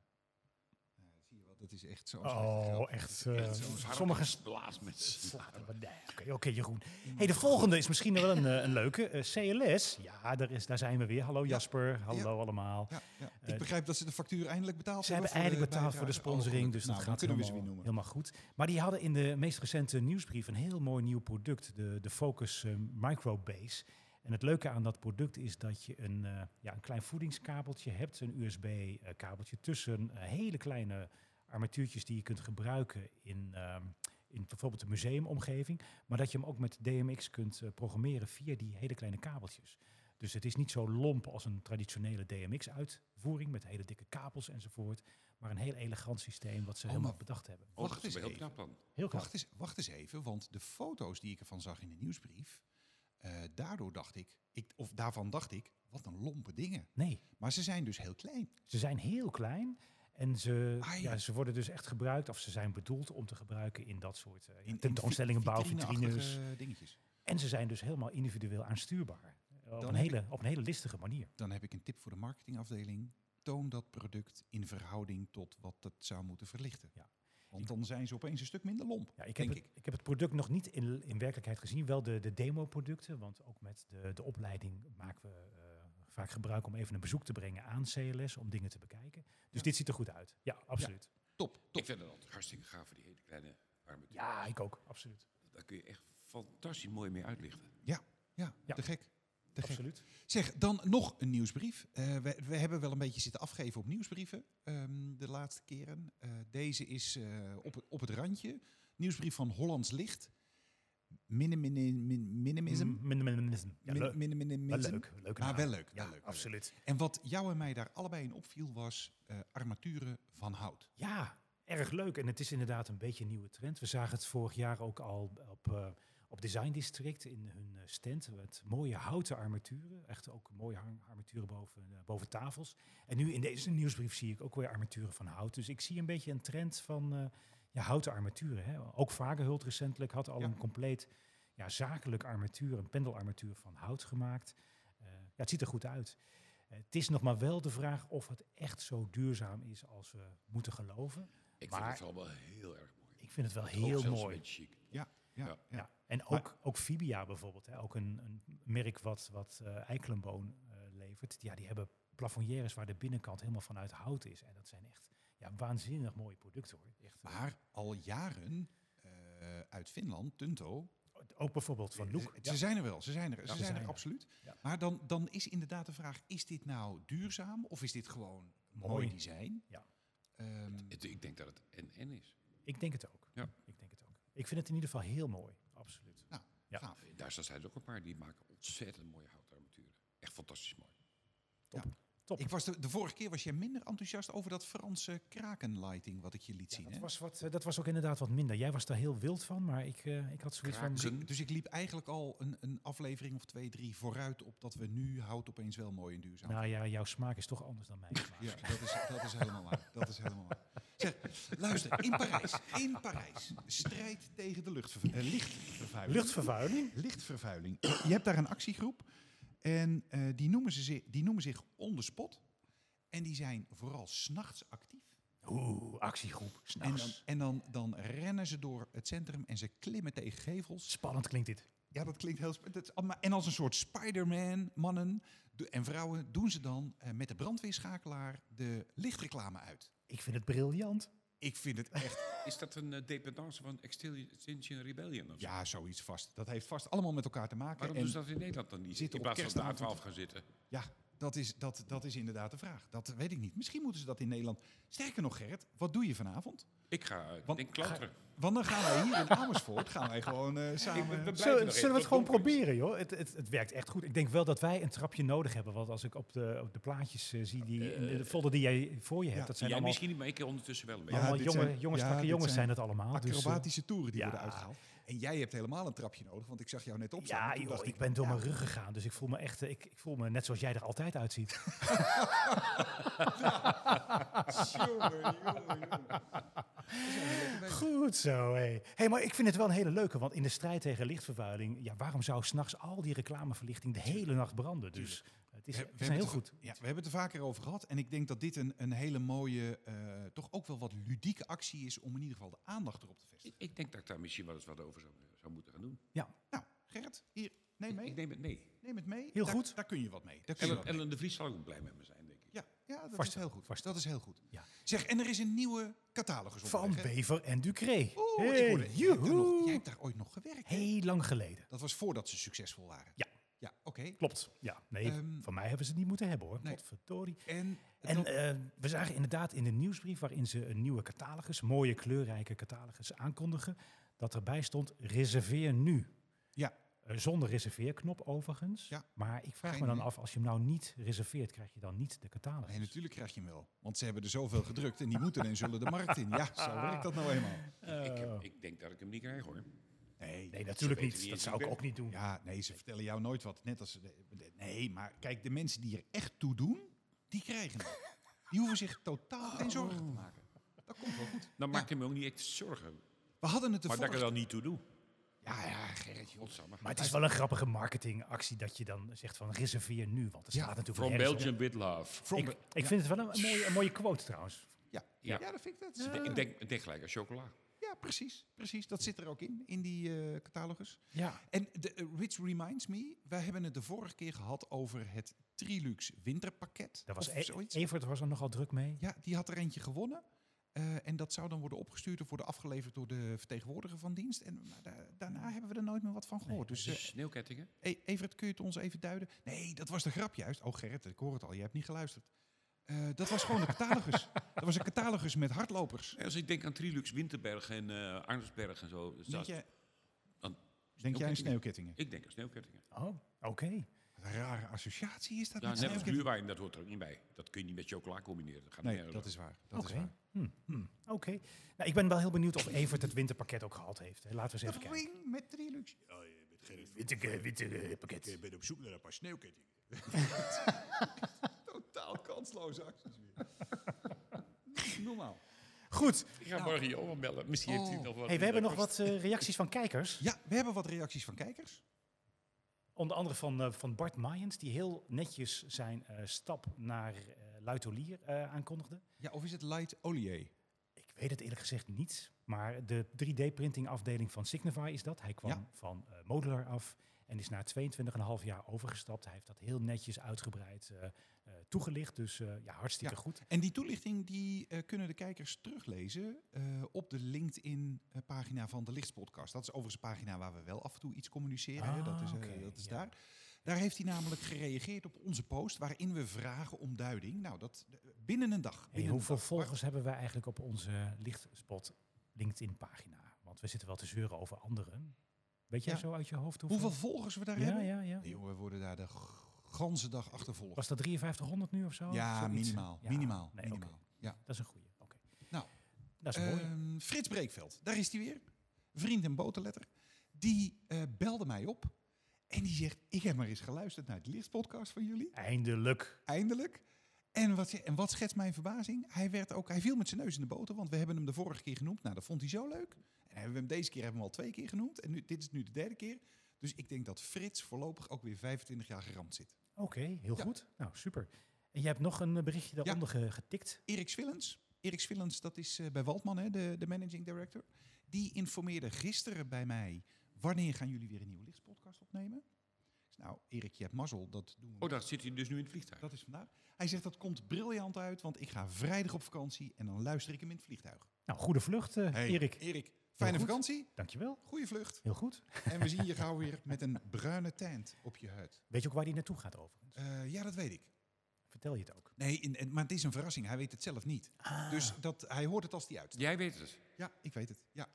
Speaker 2: Ja, zie je wel, dat is echt zo.
Speaker 3: Oh, echt. eh,
Speaker 4: Echt zo'n
Speaker 3: sommige s-
Speaker 4: blaas met
Speaker 3: slaat er wat- nee, Oké, oké, Jeroen. Hey, de volgende is misschien wel een, eh, een leuke. Eh, CLS. Ja, daar, is, daar zijn we weer. Hallo Jasper. Hallo allemaal.
Speaker 2: Ja, ja.
Speaker 3: Eh,
Speaker 2: Ik begrijp dat ze de factuur eindelijk betaald
Speaker 3: Ze hebben eigenlijk betaald voor de
Speaker 2: Oh,
Speaker 3: sponsoring, dus dat gaat
Speaker 2: Nou, kunnen we
Speaker 3: helemaal,
Speaker 2: ze weer noemen.
Speaker 3: helemaal goed. Maar die hadden in de meest recente nieuwsbrief een heel mooi nieuw product, de, de Focus eh, Microbase. En het leuke aan dat product is dat je een, eh, ja, een klein voedingskabeltje hebt, een USB-kabeltje eh, tussen eh, hele kleine armatuurtjes die je kunt gebruiken in, ehm, in bijvoorbeeld de museumomgeving. Maar dat je hem ook met DMX kunt eh, programmeren via die hele kleine kabeltjes. Dus het is niet zo lomp als een traditionele DMX-uitvoering met hele dikke kabels enzovoort. Maar een heel elegant systeem wat ze
Speaker 2: Oh,
Speaker 3: helemaal
Speaker 2: maar-
Speaker 3: bedacht hebben.
Speaker 4: Oh, dat
Speaker 2: Wacht
Speaker 4: is wel
Speaker 2: eens
Speaker 4: heel knap dan.
Speaker 3: Heel knap.
Speaker 2: Wacht eens, wacht eens even, want de foto's die ik ervan zag in de nieuwsbrief, eh, daardoor dacht ik, ik, of daarvan dacht ik, wat een lompe dingen.
Speaker 3: Nee,
Speaker 2: Maar ze zijn dus heel klein.
Speaker 3: ze zijn heel klein. En ze,
Speaker 2: Ah,
Speaker 3: ja.
Speaker 2: ja.
Speaker 3: ze worden dus echt gebruikt, of ze zijn bedoeld om te gebruiken in dat soort eh, ja,
Speaker 2: In- in
Speaker 3: tentoonstellingen,
Speaker 2: vi-
Speaker 3: bouw,
Speaker 2: vitrineachtige
Speaker 3: vitrines.
Speaker 2: dingetjes.
Speaker 3: En ze zijn dus helemaal individueel aanstuurbaar. Eh, Op
Speaker 2: Dan
Speaker 3: een,
Speaker 2: heb
Speaker 3: hele, op een hele listige manier.
Speaker 2: Dan heb ik een tip voor de marketingafdeling. Toon dat product in verhouding tot wat het zou moeten verlichten.
Speaker 3: Ja.
Speaker 2: Want dan zijn ze opeens een stuk minder lomp,
Speaker 3: Ja, ik, heb
Speaker 2: denk
Speaker 3: het,
Speaker 2: ik.
Speaker 3: ik. heb het product nog niet in, in werkelijkheid gezien, wel de, de demo-producten. Want ook met de, de opleiding maken we eh, vaak gebruik om even een bezoek te brengen aan CLS, om dingen te bekijken. Dus
Speaker 2: Ja.
Speaker 3: dit ziet er goed uit. Ja, absoluut.
Speaker 2: Top,
Speaker 4: Ik
Speaker 2: top.
Speaker 4: vind het altijd hartstikke gaaf voor die hele kleine armatuur.
Speaker 3: Ja, ik ook, absoluut.
Speaker 4: Daar kun je echt fantastisch mooi mee uitlichten.
Speaker 2: Ja,
Speaker 3: Ja.
Speaker 2: te gek. Te gek.
Speaker 3: absoluut.
Speaker 2: Zeg, dan nog een nieuwsbrief. Eh, we, we hebben wel een beetje zitten afgeven op nieuwsbrieven ehm, de laatste keren. Eh, deze is eh, op, het- op het randje. Nieuwsbrief van Hollands Licht. Minim- minim- min- Minimism.
Speaker 3: Mm, min- min- min- ja,
Speaker 2: Min-
Speaker 3: leuk.
Speaker 2: minim- minimism.
Speaker 3: Wel leuk. leuke
Speaker 2: Maar
Speaker 3: naam.
Speaker 2: wel leuk. wel leuk,
Speaker 3: Ja,
Speaker 2: wel leuk.
Speaker 3: absoluut.
Speaker 2: En wat jou en mij daar allebei in opviel was eh, armaturen van hout.
Speaker 3: Ja, erg leuk. En het is inderdaad een beetje een nieuwe trend. We zagen het vorig jaar ook al op, eh, op Design District in hun eh, stand. Met mooie houten armaturen. Echt ook mooie hang- armaturen boven, eh, boven tafels. En nu in deze nieuwsbrief zie ik ook weer armaturen van hout. Dus ik zie een beetje een trend van eh, ja, houten armaturen. Hè. Ook Vagerhult recentelijk had al
Speaker 2: Ja.
Speaker 3: een compleet ja, zakelijk armatuur, een pendelarmatuur van hout gemaakt. Eh, ja, het ziet er goed uit. Eh, het is nog maar wel de vraag of het echt zo duurzaam is als we moeten geloven.
Speaker 4: Ik
Speaker 3: Maar-
Speaker 4: vind het vooral wel heel erg mooi.
Speaker 3: Ik vind het wel
Speaker 4: Het oog
Speaker 3: heel
Speaker 4: zelfs
Speaker 3: mooi.
Speaker 4: een beetje chic.
Speaker 2: Ja,
Speaker 4: Ja.
Speaker 2: ja.
Speaker 3: Ja. En ook, ook Fibia bijvoorbeeld, hè, ook een, een merk wat, wat eh eikelenboon eh, levert. Ja, die hebben plafonnières waar de binnenkant helemaal vanuit hout is. En dat zijn echt ja, waanzinnig mooie producten hoor. Echt, eh,
Speaker 2: Maar al jaren eh, uit Finland, Tunto.
Speaker 3: ook bijvoorbeeld van Loek.
Speaker 2: Eh, Ze, ze zijn er wel, ze zijn er, ze, zijn
Speaker 3: zijn
Speaker 2: er
Speaker 3: er.
Speaker 2: absoluut.
Speaker 3: Ja.
Speaker 2: Maar dan, dan is inderdaad de vraag, is dit nou duurzaam of is dit gewoon mooi,
Speaker 3: Mooi.
Speaker 2: design?
Speaker 3: Ja.
Speaker 2: Ehm,
Speaker 4: Het- ik denk dat het en-en is.
Speaker 3: Ik denk het ook.
Speaker 4: Ja.
Speaker 3: Ik denk het ook. Ik vind het in ieder geval heel mooi. Absoluut. Ja.
Speaker 2: gaaf.
Speaker 4: Daar zijn er ook een paar die maken ontzettend mooie houtarmaturen. Echt fantastisch mooi.
Speaker 3: Top.
Speaker 2: Ik was de, de vorige keer was jij minder enthousiast over dat Franse krakenlighting wat ik je liet
Speaker 3: Ja,
Speaker 2: zien.
Speaker 3: dat,
Speaker 2: hè?
Speaker 3: was wat, eh, dat was ook inderdaad wat minder. Jij was daar heel wild van, maar ik, eh, ik had zoiets
Speaker 4: Kraken.
Speaker 3: van...
Speaker 2: Dus ik- Dus ik liep eigenlijk al een, een aflevering of twee, drie vooruit op dat we nu hout opeens wel mooi en duurzaam.
Speaker 3: Nou ja, jouw smaak is toch anders dan mijn smaak.
Speaker 2: Ja, dat is, dat is helemaal waar. Dat is helemaal waar. Zeg, luister, in Parijs, in Parijs, strijd tegen de luchtvervu- eh, lichtvervuiling.
Speaker 3: Luchtvervuiling?
Speaker 2: lichtvervuiling. Je hebt daar een actiegroep en eh, die, noemen ze, zi- die noemen zich On The Spot. En die zijn vooral s'nachts actief.
Speaker 3: Oeh, actiegroep.
Speaker 2: En, dan,
Speaker 3: S'nachts.
Speaker 2: en dan, dan rennen ze door het centrum en ze klimmen tegen gevels.
Speaker 3: Spannend klinkt dit.
Speaker 2: Ja, dat klinkt heel... sp- Dat is allemaal, en als een soort Spider-Man, mannen do- en vrouwen, doen ze dan eh, met de brandweerschakelaar de lichtreclame uit.
Speaker 3: Ik vind het briljant.
Speaker 2: Ik vind het echt...
Speaker 4: Is dat een eh, dependance van Extinction Rebellion? Of zo?
Speaker 2: Ja, zoiets vast. Dat heeft vast allemaal met elkaar te maken.
Speaker 4: Waarom
Speaker 2: En-
Speaker 4: doen ze dat in Nederland dan niet?
Speaker 2: zitten
Speaker 4: In
Speaker 2: op
Speaker 4: plaats van de
Speaker 2: kerstavond.
Speaker 4: A12 gaan zitten.
Speaker 2: Ja, dat is, dat, dat is inderdaad de vraag. Dat weet ik niet. Misschien moeten ze dat in Nederland. Sterker nog, Gerrit, wat doe je vanavond?
Speaker 4: Ik ga eh,
Speaker 2: Want-
Speaker 4: denk klauteren.
Speaker 2: Want dan gaan wij hier in Amersfoort gaan wij gewoon eh, samen.
Speaker 4: blijven nog
Speaker 3: Zullen,
Speaker 4: even,
Speaker 3: zullen we het gewoon
Speaker 4: donker is.
Speaker 3: proberen, joh? Het, het, het werkt echt goed. Ik denk wel dat wij een trapje nodig hebben. Want als ik op de, op de plaatjes eh, zie, die, in de, de folder die jij voor je hebt,
Speaker 2: Ja,
Speaker 3: dat zijn
Speaker 4: Jij
Speaker 3: allemaal,
Speaker 4: misschien niet, maar ik ondertussen wel een beetje.
Speaker 2: Ja,
Speaker 3: allemaal
Speaker 2: dit
Speaker 3: jonge,
Speaker 2: zijn-
Speaker 3: jonge
Speaker 2: ja,
Speaker 3: strakke
Speaker 2: dit
Speaker 3: jongens zijn
Speaker 2: zijn
Speaker 3: dat allemaal. Dus, eh,
Speaker 2: Acrobatische toeren die
Speaker 3: ja.
Speaker 2: worden uitgehaald. En jij hebt helemaal een trapje nodig, want ik zag jou net opstaan.
Speaker 3: ja,
Speaker 2: Toen
Speaker 3: joh,
Speaker 2: dacht
Speaker 3: ik ben door
Speaker 2: ja,
Speaker 3: mijn rug gegaan. Dus ik voel me echt, eh, ik, ik voel me net zoals jij er altijd uitziet.
Speaker 2: jongen, jongen, jongen.
Speaker 3: Goed zo, hé. Hey. hey, maar ik vind het wel een hele leuke. Want in de strijd tegen lichtvervuiling, ja, waarom zou s'nachts al die reclameverlichting de hele nacht branden? Dus het is,
Speaker 2: We- we
Speaker 3: het
Speaker 2: hebben
Speaker 3: is heel
Speaker 2: het er-
Speaker 3: goed.
Speaker 2: Ja, we hebben het er vaker over gehad. En ik denk dat dit een, een hele mooie, eh, toch ook wel wat ludieke actie is om in ieder geval de aandacht erop te vestigen.
Speaker 4: Ik, ik denk dat ik daar misschien wel eens wat over zou, zou moeten gaan doen.
Speaker 2: Nou, Gerrit, hier, neem
Speaker 4: Ik-
Speaker 2: mee.
Speaker 4: Ik neem het mee.
Speaker 2: Neem het mee.
Speaker 3: Heel
Speaker 2: daar,
Speaker 3: goed.
Speaker 2: Daar kun je wat mee. Daar kun je
Speaker 4: Ellen,
Speaker 2: wat mee.
Speaker 4: Ellen de Vries zal ook blij met me zijn, denk ik.
Speaker 2: Ja, ja dat is
Speaker 3: Vast wel,
Speaker 2: heel goed.
Speaker 3: vast
Speaker 2: Dat is heel goed.
Speaker 3: Ja.
Speaker 2: Zeg, en er is een nieuwe catalogus
Speaker 3: Van
Speaker 2: onderweg, hè?
Speaker 3: Bever en Ducré.
Speaker 2: Oeh, ik hoorde-
Speaker 3: Hey,
Speaker 2: jij, hebt daar nog-
Speaker 3: joehoe.
Speaker 2: jij hebt daar ooit nog gewerkt. hè?
Speaker 3: Heel lang geleden.
Speaker 2: Dat was voordat ze succesvol waren.
Speaker 3: Ja.
Speaker 2: Ja, oké.
Speaker 3: Klopt. Ja, nee,
Speaker 2: Ehm,
Speaker 3: van mij hebben ze het niet moeten hebben hoor.
Speaker 2: nee.
Speaker 3: Godverdorie.
Speaker 2: En,
Speaker 3: En
Speaker 2: dat-
Speaker 3: eh, we zagen inderdaad in de nieuwsbrief waarin ze een nieuwe catalogus, mooie kleurrijke catalogus aankondigen, dat erbij stond reserveer nu.
Speaker 2: Ja.
Speaker 3: Eh, zonder reserveerknop overigens.
Speaker 2: Ja.
Speaker 3: Maar ik vraag
Speaker 2: Geen
Speaker 3: me dan
Speaker 2: idee.
Speaker 3: af, als je hem nou niet reserveert, krijg je dan niet de catalogus?
Speaker 2: nee, natuurlijk krijg je hem wel. Want ze hebben er zoveel gedrukt en die moeten en zullen de markt in. Ja, zo werkt dat nou eenmaal.
Speaker 4: Ik, heb- ik denk dat ik hem niet krijg, hoor.
Speaker 2: Nee,
Speaker 3: nee, natuurlijk
Speaker 4: weten
Speaker 3: niet.
Speaker 4: wie
Speaker 3: Dat
Speaker 4: ik
Speaker 3: zou ik
Speaker 4: ben.
Speaker 3: ook niet doen.
Speaker 2: Ja, nee, ze vertellen jou nooit wat. Net als ze de- de- nee, maar kijk, de mensen die er echt toe doen, die krijgen het. Die hoeven zich totaal geen zorgen
Speaker 3: Oh.
Speaker 2: te maken. Dat komt wel goed.
Speaker 4: Dan maakt hij me ook niet echt zorgen.
Speaker 2: We hadden het de
Speaker 4: Maar dat ik er
Speaker 2: vorige-
Speaker 4: dan niet toe doe.
Speaker 2: Ja, ja, Gerrit, joh.
Speaker 4: Godsamme.
Speaker 3: Maar het is wel een grappige marketingactie dat je dan zegt van reserveer nu. Want het
Speaker 2: Ja,
Speaker 3: staat natuurlijk
Speaker 4: From
Speaker 3: nergens op.
Speaker 4: Belgium with love.
Speaker 2: From
Speaker 3: Ik,
Speaker 2: the-
Speaker 3: ik vind het wel een, een mooie, een mooie quote trouwens.
Speaker 2: Ja, ja.
Speaker 4: Ja.
Speaker 2: dat vind ik dat.
Speaker 4: Ik denk- Ik denk, ik denk gelijk aan chocola.
Speaker 2: Ja, precies, precies. Dat zit er ook in, in die eh, catalogus.
Speaker 3: Ja.
Speaker 2: En de, eh, which reminds me, wij hebben het de vorige keer gehad over het Trilux winterpakket.
Speaker 3: Dat was
Speaker 2: of
Speaker 3: E-
Speaker 2: zoiets.
Speaker 3: Evert was er nogal druk mee.
Speaker 2: Ja, die had er eentje gewonnen. Eh, en dat zou dan worden opgestuurd of worden afgeleverd door de vertegenwoordiger van dienst. En maar da- daarna hebben we er nooit meer wat van gehoord. dus eh,
Speaker 4: Sneeuwkettingen.
Speaker 2: E- Evert, kun je het ons even duiden? Nee, dat was de grap juist. Oh Gerrit, ik hoor het al, je hebt niet geluisterd. Eh, dat was gewoon een catalogus. Dat was een catalogus met hardlopers.
Speaker 4: Als dus ik denk aan Trilux, Winterberg en eh Arnsberg en zo. is
Speaker 2: Denk
Speaker 4: dat-
Speaker 2: jij,
Speaker 4: Aan
Speaker 2: denk jij aan
Speaker 4: sneeuwkettingen?
Speaker 2: sneeuwkettingen?
Speaker 4: Ik denk aan sneeuwkettingen.
Speaker 3: Oh, oké.
Speaker 2: Wat een rare associatie is dat
Speaker 4: Ja,
Speaker 2: met
Speaker 4: net als
Speaker 2: sneeuwkettingen.
Speaker 4: glühwein, dat hoort er ook niet bij. Dat kun je niet met chocola combineren. Dat gaat
Speaker 2: Nee,
Speaker 4: nergens
Speaker 2: dat
Speaker 4: over.
Speaker 2: is waar. Dat
Speaker 3: Oké.
Speaker 2: is waar.
Speaker 3: Hm, hm, Oké. Nou, ik ben wel heel benieuwd of Evert het winterpakket ook gehad heeft. hè. Laten we eens even
Speaker 2: De
Speaker 3: kijken.
Speaker 2: ring met Trilux.
Speaker 6: Ja, je bent Gerrit Witt.
Speaker 3: Winter, winterpakket.
Speaker 6: Ik ben op zoek naar een paar sneeuwkettingen.
Speaker 2: Totaal kansloze acties weer. Normaal.
Speaker 3: Goed.
Speaker 4: Ik ga morgen Johan bellen. Misschien heeft hij
Speaker 2: Oh.
Speaker 4: nog wat.
Speaker 3: Hey, we hebben nog
Speaker 4: kost.
Speaker 3: wat eh, reacties van kijkers.
Speaker 2: Ja, we hebben wat reacties van kijkers.
Speaker 3: Onder andere van, eh, van Bart Maaiens, die heel netjes zijn eh, stap naar eh Luitolier eh, aankondigde.
Speaker 2: Ja, of is het Light Olier?
Speaker 3: Ik weet het eerlijk gezegd niet, maar de 3D-printing afdeling van Signify is dat. Hij kwam
Speaker 2: Ja.
Speaker 3: van eh, Modular af en is na 22,5 jaar overgestapt. Hij heeft dat heel netjes uitgebreid eh, eh, toegelicht, dus eh, ja, hartstikke
Speaker 2: Ja.
Speaker 3: goed.
Speaker 2: En die toelichting die, eh, kunnen de kijkers teruglezen eh, op de LinkedIn-pagina van de Lichtspodcast. Dat is overigens een pagina waar we wel af en toe iets communiceren. hè. dat
Speaker 3: Ah,
Speaker 2: is, eh,
Speaker 3: oké,
Speaker 2: dat is
Speaker 3: ja.
Speaker 2: daar. Daar heeft hij namelijk gereageerd op onze post waarin we vragen om duiding. Nou, dat eh, binnen een dag.
Speaker 3: Hey,
Speaker 2: binnen een
Speaker 3: hoeveel
Speaker 2: dag.
Speaker 3: volgers hebben wij eigenlijk op onze lichtspot LinkedIn-pagina? Want we zitten wel te zeuren over anderen. Weet jij
Speaker 2: Ja.
Speaker 3: zo uit je hoofd hoeveel?
Speaker 2: Hoeveel volgers we daar
Speaker 3: ja,
Speaker 2: hebben?
Speaker 3: ja, ja.
Speaker 2: Nee, jongen, we worden daar de g- ganse dag achtervolgd.
Speaker 3: Was dat 5300 nu of zo?
Speaker 2: ja,
Speaker 3: Zoiets.
Speaker 2: minimaal.
Speaker 3: Ja,
Speaker 2: minimaal.
Speaker 3: nee,
Speaker 2: minimaal.
Speaker 3: oké.
Speaker 2: Ja.
Speaker 3: Dat is een goeie. Oké.
Speaker 2: Nou,
Speaker 3: dat is mooi.
Speaker 2: Ehm, Frits Breekveld, daar is hij weer. Vriend en boterletter. Die eh, belde mij op. En die zegt, ik heb maar eens geluisterd naar het lichtpodcast van jullie.
Speaker 3: Eindelijk.
Speaker 2: Eindelijk. En wat, ze- en wat schetst mijn verbazing? Hij, werd ook, hij viel met zijn neus in de boter, want we hebben hem de vorige keer genoemd. Nou, dat vond hij zo leuk. En hebben we hem deze keer hebben we hem al twee keer genoemd. En nu, dit is nu de derde keer. Dus ik denk dat Frits voorlopig ook weer 25 jaar geramd zit.
Speaker 3: Oké, heel
Speaker 2: Ja.
Speaker 3: goed. Nou, super. En je hebt nog een eh, berichtje daaronder ge- getikt.
Speaker 2: Erik Swillens. Erik Swillens, dat is eh, bij Waldman, hè, de, de managing director. Die informeerde gisteren bij mij... wanneer gaan jullie weer een nieuwe lichtspodcast opnemen? Ik zei, nou, Erik, je hebt mazzel, dat doen we.
Speaker 4: Oh, daar zit hij dus nu in het vliegtuig.
Speaker 2: Dat is vandaag. Hij zegt, dat komt briljant uit, want ik ga vrijdag op vakantie... en dan luister ik hem in het vliegtuig.
Speaker 3: Nou, goede vlucht, eh,
Speaker 2: Hey,
Speaker 3: Erik.
Speaker 2: Erik, fijne
Speaker 3: goed.
Speaker 2: vakantie,
Speaker 3: Dankjewel.
Speaker 2: goede vlucht.
Speaker 3: Heel goed.
Speaker 2: En we zien je gauw weer met een bruine tent op je huid.
Speaker 3: Weet je ook waar die naartoe gaat overigens?
Speaker 2: Eh, ja, dat weet ik.
Speaker 3: Vertel je het ook.
Speaker 2: Nee, in- en- maar het is een verrassing. Hij weet het zelf niet. Dus dat, hij hoort het als hij uit.
Speaker 4: Jij weet het.
Speaker 2: Ja, ik weet het. Ja.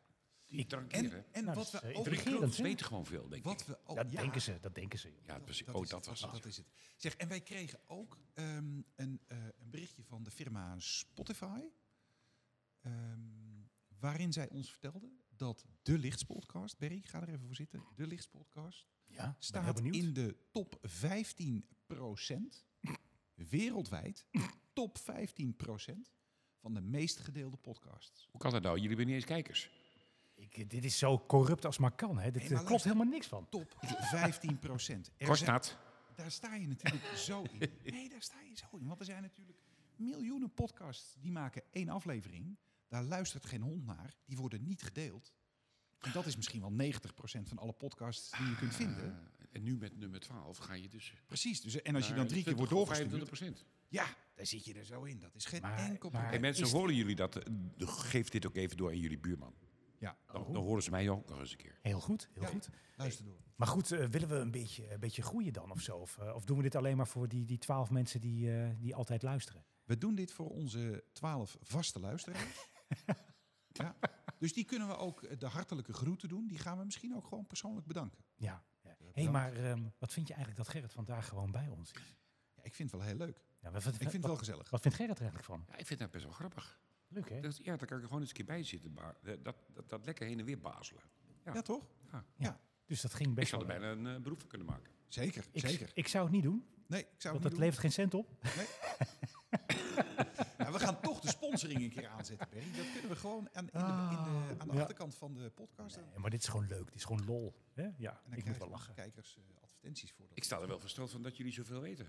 Speaker 4: Die drankeren.
Speaker 2: En, en
Speaker 3: Nou,
Speaker 2: wat
Speaker 3: dat is,
Speaker 2: we
Speaker 3: eh,
Speaker 2: ook
Speaker 4: Rick
Speaker 3: intrigerend,
Speaker 4: Roos
Speaker 3: hè?
Speaker 4: weet gewoon veel, denk
Speaker 2: Oh, Wat
Speaker 4: ik.
Speaker 2: we ook,
Speaker 3: dat
Speaker 2: Oh, ja,
Speaker 3: denken ze, dat denken ze. joh.
Speaker 4: Ja, precies.
Speaker 2: dat
Speaker 4: oh,
Speaker 2: is
Speaker 4: dat
Speaker 2: het,
Speaker 4: was
Speaker 2: dat
Speaker 4: het.
Speaker 2: is het. Zeg, en wij kregen ook ehm, een, eh, een berichtje van de firma Spotify. ehm, waarin zij ons vertelde dat de Lichtspodcast, Berry, ga er even voor zitten. De Lichtspodcast
Speaker 3: Ja, ik ben heel
Speaker 2: staat
Speaker 3: benieuwd.
Speaker 2: in de top 15% wereldwijd. top 15% van de meest gedeelde podcasts.
Speaker 4: Hoe kan dat nou? Jullie hebben niet eens kijkers.
Speaker 3: Ik- dit is zo corrupt als maar kan. Hè. Dit
Speaker 2: maar
Speaker 3: eh, klopt
Speaker 2: luister.
Speaker 3: helemaal niks van.
Speaker 2: Top 15%. Er
Speaker 4: Kost
Speaker 2: zijn-
Speaker 4: dat?
Speaker 2: Daar sta je natuurlijk zo in. Nee, daar sta je zo in. Want er zijn natuurlijk miljoenen podcasts die maken één aflevering. Daar luistert geen hond naar. Die worden niet gedeeld. En dat is misschien wel 90% van alle podcasts die je kunt vinden.
Speaker 4: Eh, en nu met nummer 12 ga je dus...
Speaker 2: Precies. Dus, en als je
Speaker 4: naar
Speaker 2: dan drie keer
Speaker 4: 20
Speaker 2: wordt
Speaker 4: of
Speaker 2: doorgestuurd.
Speaker 4: 25
Speaker 2: Ja, daar zit je er zo in. Dat is geen
Speaker 3: Maar-
Speaker 2: enkel
Speaker 3: maar-
Speaker 2: probleem.
Speaker 4: Hey, mensen,
Speaker 2: Is-
Speaker 4: horen jullie dat? Eh, d- Geef dit ook even door aan jullie buurman.
Speaker 2: Ja,
Speaker 4: Dan, dan horen ze mij ook nog eens een keer.
Speaker 3: Heel goed, heel
Speaker 2: Ja.
Speaker 3: goed.
Speaker 2: luister door.
Speaker 3: Maar goed, eh, willen we een beetje, een beetje groeien dan of zo? Of, eh, of doen we dit alleen maar voor die, die 12 mensen die, eh, die altijd luisteren?
Speaker 2: We doen dit voor onze twaalf vaste luisteraars. ja. Dus die kunnen we ook eh, de hartelijke groeten doen. Die gaan we misschien ook gewoon persoonlijk bedanken.
Speaker 3: Ja. ja. Hé, hey,
Speaker 2: bedankt.
Speaker 3: maar ehm, wat vind je eigenlijk dat Gerrit vandaag gewoon bij ons is?
Speaker 2: Ja, ik vind het wel heel leuk.
Speaker 3: Ja, wat, wat-
Speaker 2: Ik vind het
Speaker 3: wat-
Speaker 2: wel gezellig.
Speaker 3: Wat vindt Gerrit er eigenlijk van?
Speaker 4: Ja, ik vind dat best wel grappig.
Speaker 3: Leuk, hè?
Speaker 4: Dat, ja, daar kan ik er gewoon eens een keer bij zitten. ba- eh, dat, dat, dat lekker heen en weer bazelen. Ja.
Speaker 2: Ja, toch?
Speaker 3: Dus dat ging
Speaker 4: Ik
Speaker 3: best
Speaker 4: zou er
Speaker 3: wel...
Speaker 4: bijna een eh, beroep van kunnen maken.
Speaker 2: Zeker,
Speaker 3: Ik,
Speaker 2: zeker.
Speaker 3: ik zou het niet doen,
Speaker 2: Nee, ik zou
Speaker 3: want
Speaker 2: het
Speaker 3: dat
Speaker 2: niet
Speaker 3: levert geen cent op.
Speaker 2: doen. Nee. Nou, we gaan toch de sponsoring een keer aanzetten, Berry. Dat kunnen we gewoon aan, in de, in de, aan de
Speaker 3: Ah. Ja.
Speaker 2: achterkant van de podcast. doen.
Speaker 3: Nee, maar dit is gewoon leuk, dit is gewoon lol. Hè? Ja,
Speaker 2: En dan
Speaker 3: ik moet
Speaker 2: krijgen
Speaker 3: wel
Speaker 2: onze
Speaker 3: lachen.
Speaker 2: kijkers eh, advertenties voor. Dat.
Speaker 4: Ik sta er wel versteld van dat jullie zoveel weten.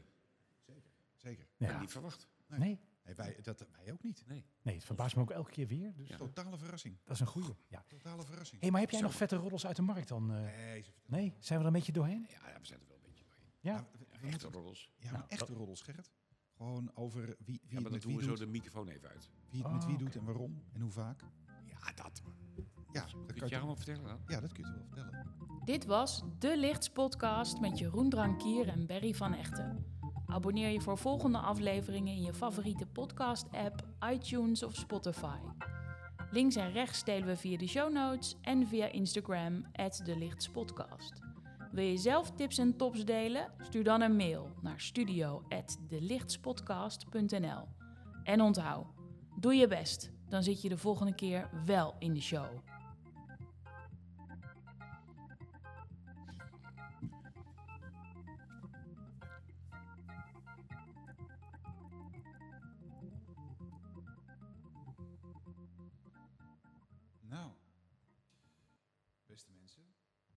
Speaker 2: Zeker.
Speaker 4: En
Speaker 3: Ja.
Speaker 4: niet verwacht.
Speaker 3: Nee,
Speaker 2: Nee, wij, dat, wij ook niet.
Speaker 4: Nee.
Speaker 3: nee, het verbaast me ook elke keer weer. Dus
Speaker 4: Ja.
Speaker 2: Totale verrassing.
Speaker 3: dat is een goeie. Ja.
Speaker 2: Totale verrassing.
Speaker 3: Hé, maar heb jij
Speaker 4: Zo.
Speaker 3: nog vette roddels uit de markt dan? eh?
Speaker 2: Nee, ze vertellen-
Speaker 3: Nee? Zijn we er een beetje doorheen?
Speaker 4: Ja, ja, we zijn er wel een beetje doorheen.
Speaker 3: Ja.
Speaker 2: Maar Nou, we- we
Speaker 4: Ja,
Speaker 2: moeten-
Speaker 4: echte roddels.
Speaker 2: Ja,
Speaker 3: Nou,
Speaker 2: maar echte
Speaker 3: dat-
Speaker 2: roddels, Gerrit. Gewoon over wie, wie
Speaker 4: Ja,
Speaker 2: het
Speaker 4: maar dan
Speaker 2: met
Speaker 4: doen
Speaker 2: wie
Speaker 4: we zo
Speaker 2: doet,
Speaker 4: de microfoon even uit.
Speaker 2: wie het
Speaker 3: Ah,
Speaker 2: met wie
Speaker 3: oké.
Speaker 2: doet en waarom en hoe vaak.
Speaker 4: Ja, dat.
Speaker 2: Ja, dat
Speaker 4: Kun
Speaker 2: kan
Speaker 4: je
Speaker 2: je,
Speaker 4: allemaal vertellen dan?
Speaker 2: ja, dat kun je wel vertellen.
Speaker 1: Dit was De Lichts Podcast met Jeroen Drankier en Berry van Echten. Abonneer je voor volgende afleveringen in je favoriete podcast-app, iTunes of Spotify. Links en rechts delen we via de show notes en via Instagram, De Lichtspodcast. Wil je zelf tips en tops delen? Stuur dan een mail naar studio.delichtspodcast.nl. En onthoud, doe je best, dan zit je de volgende keer wel in de show.
Speaker 2: Nou,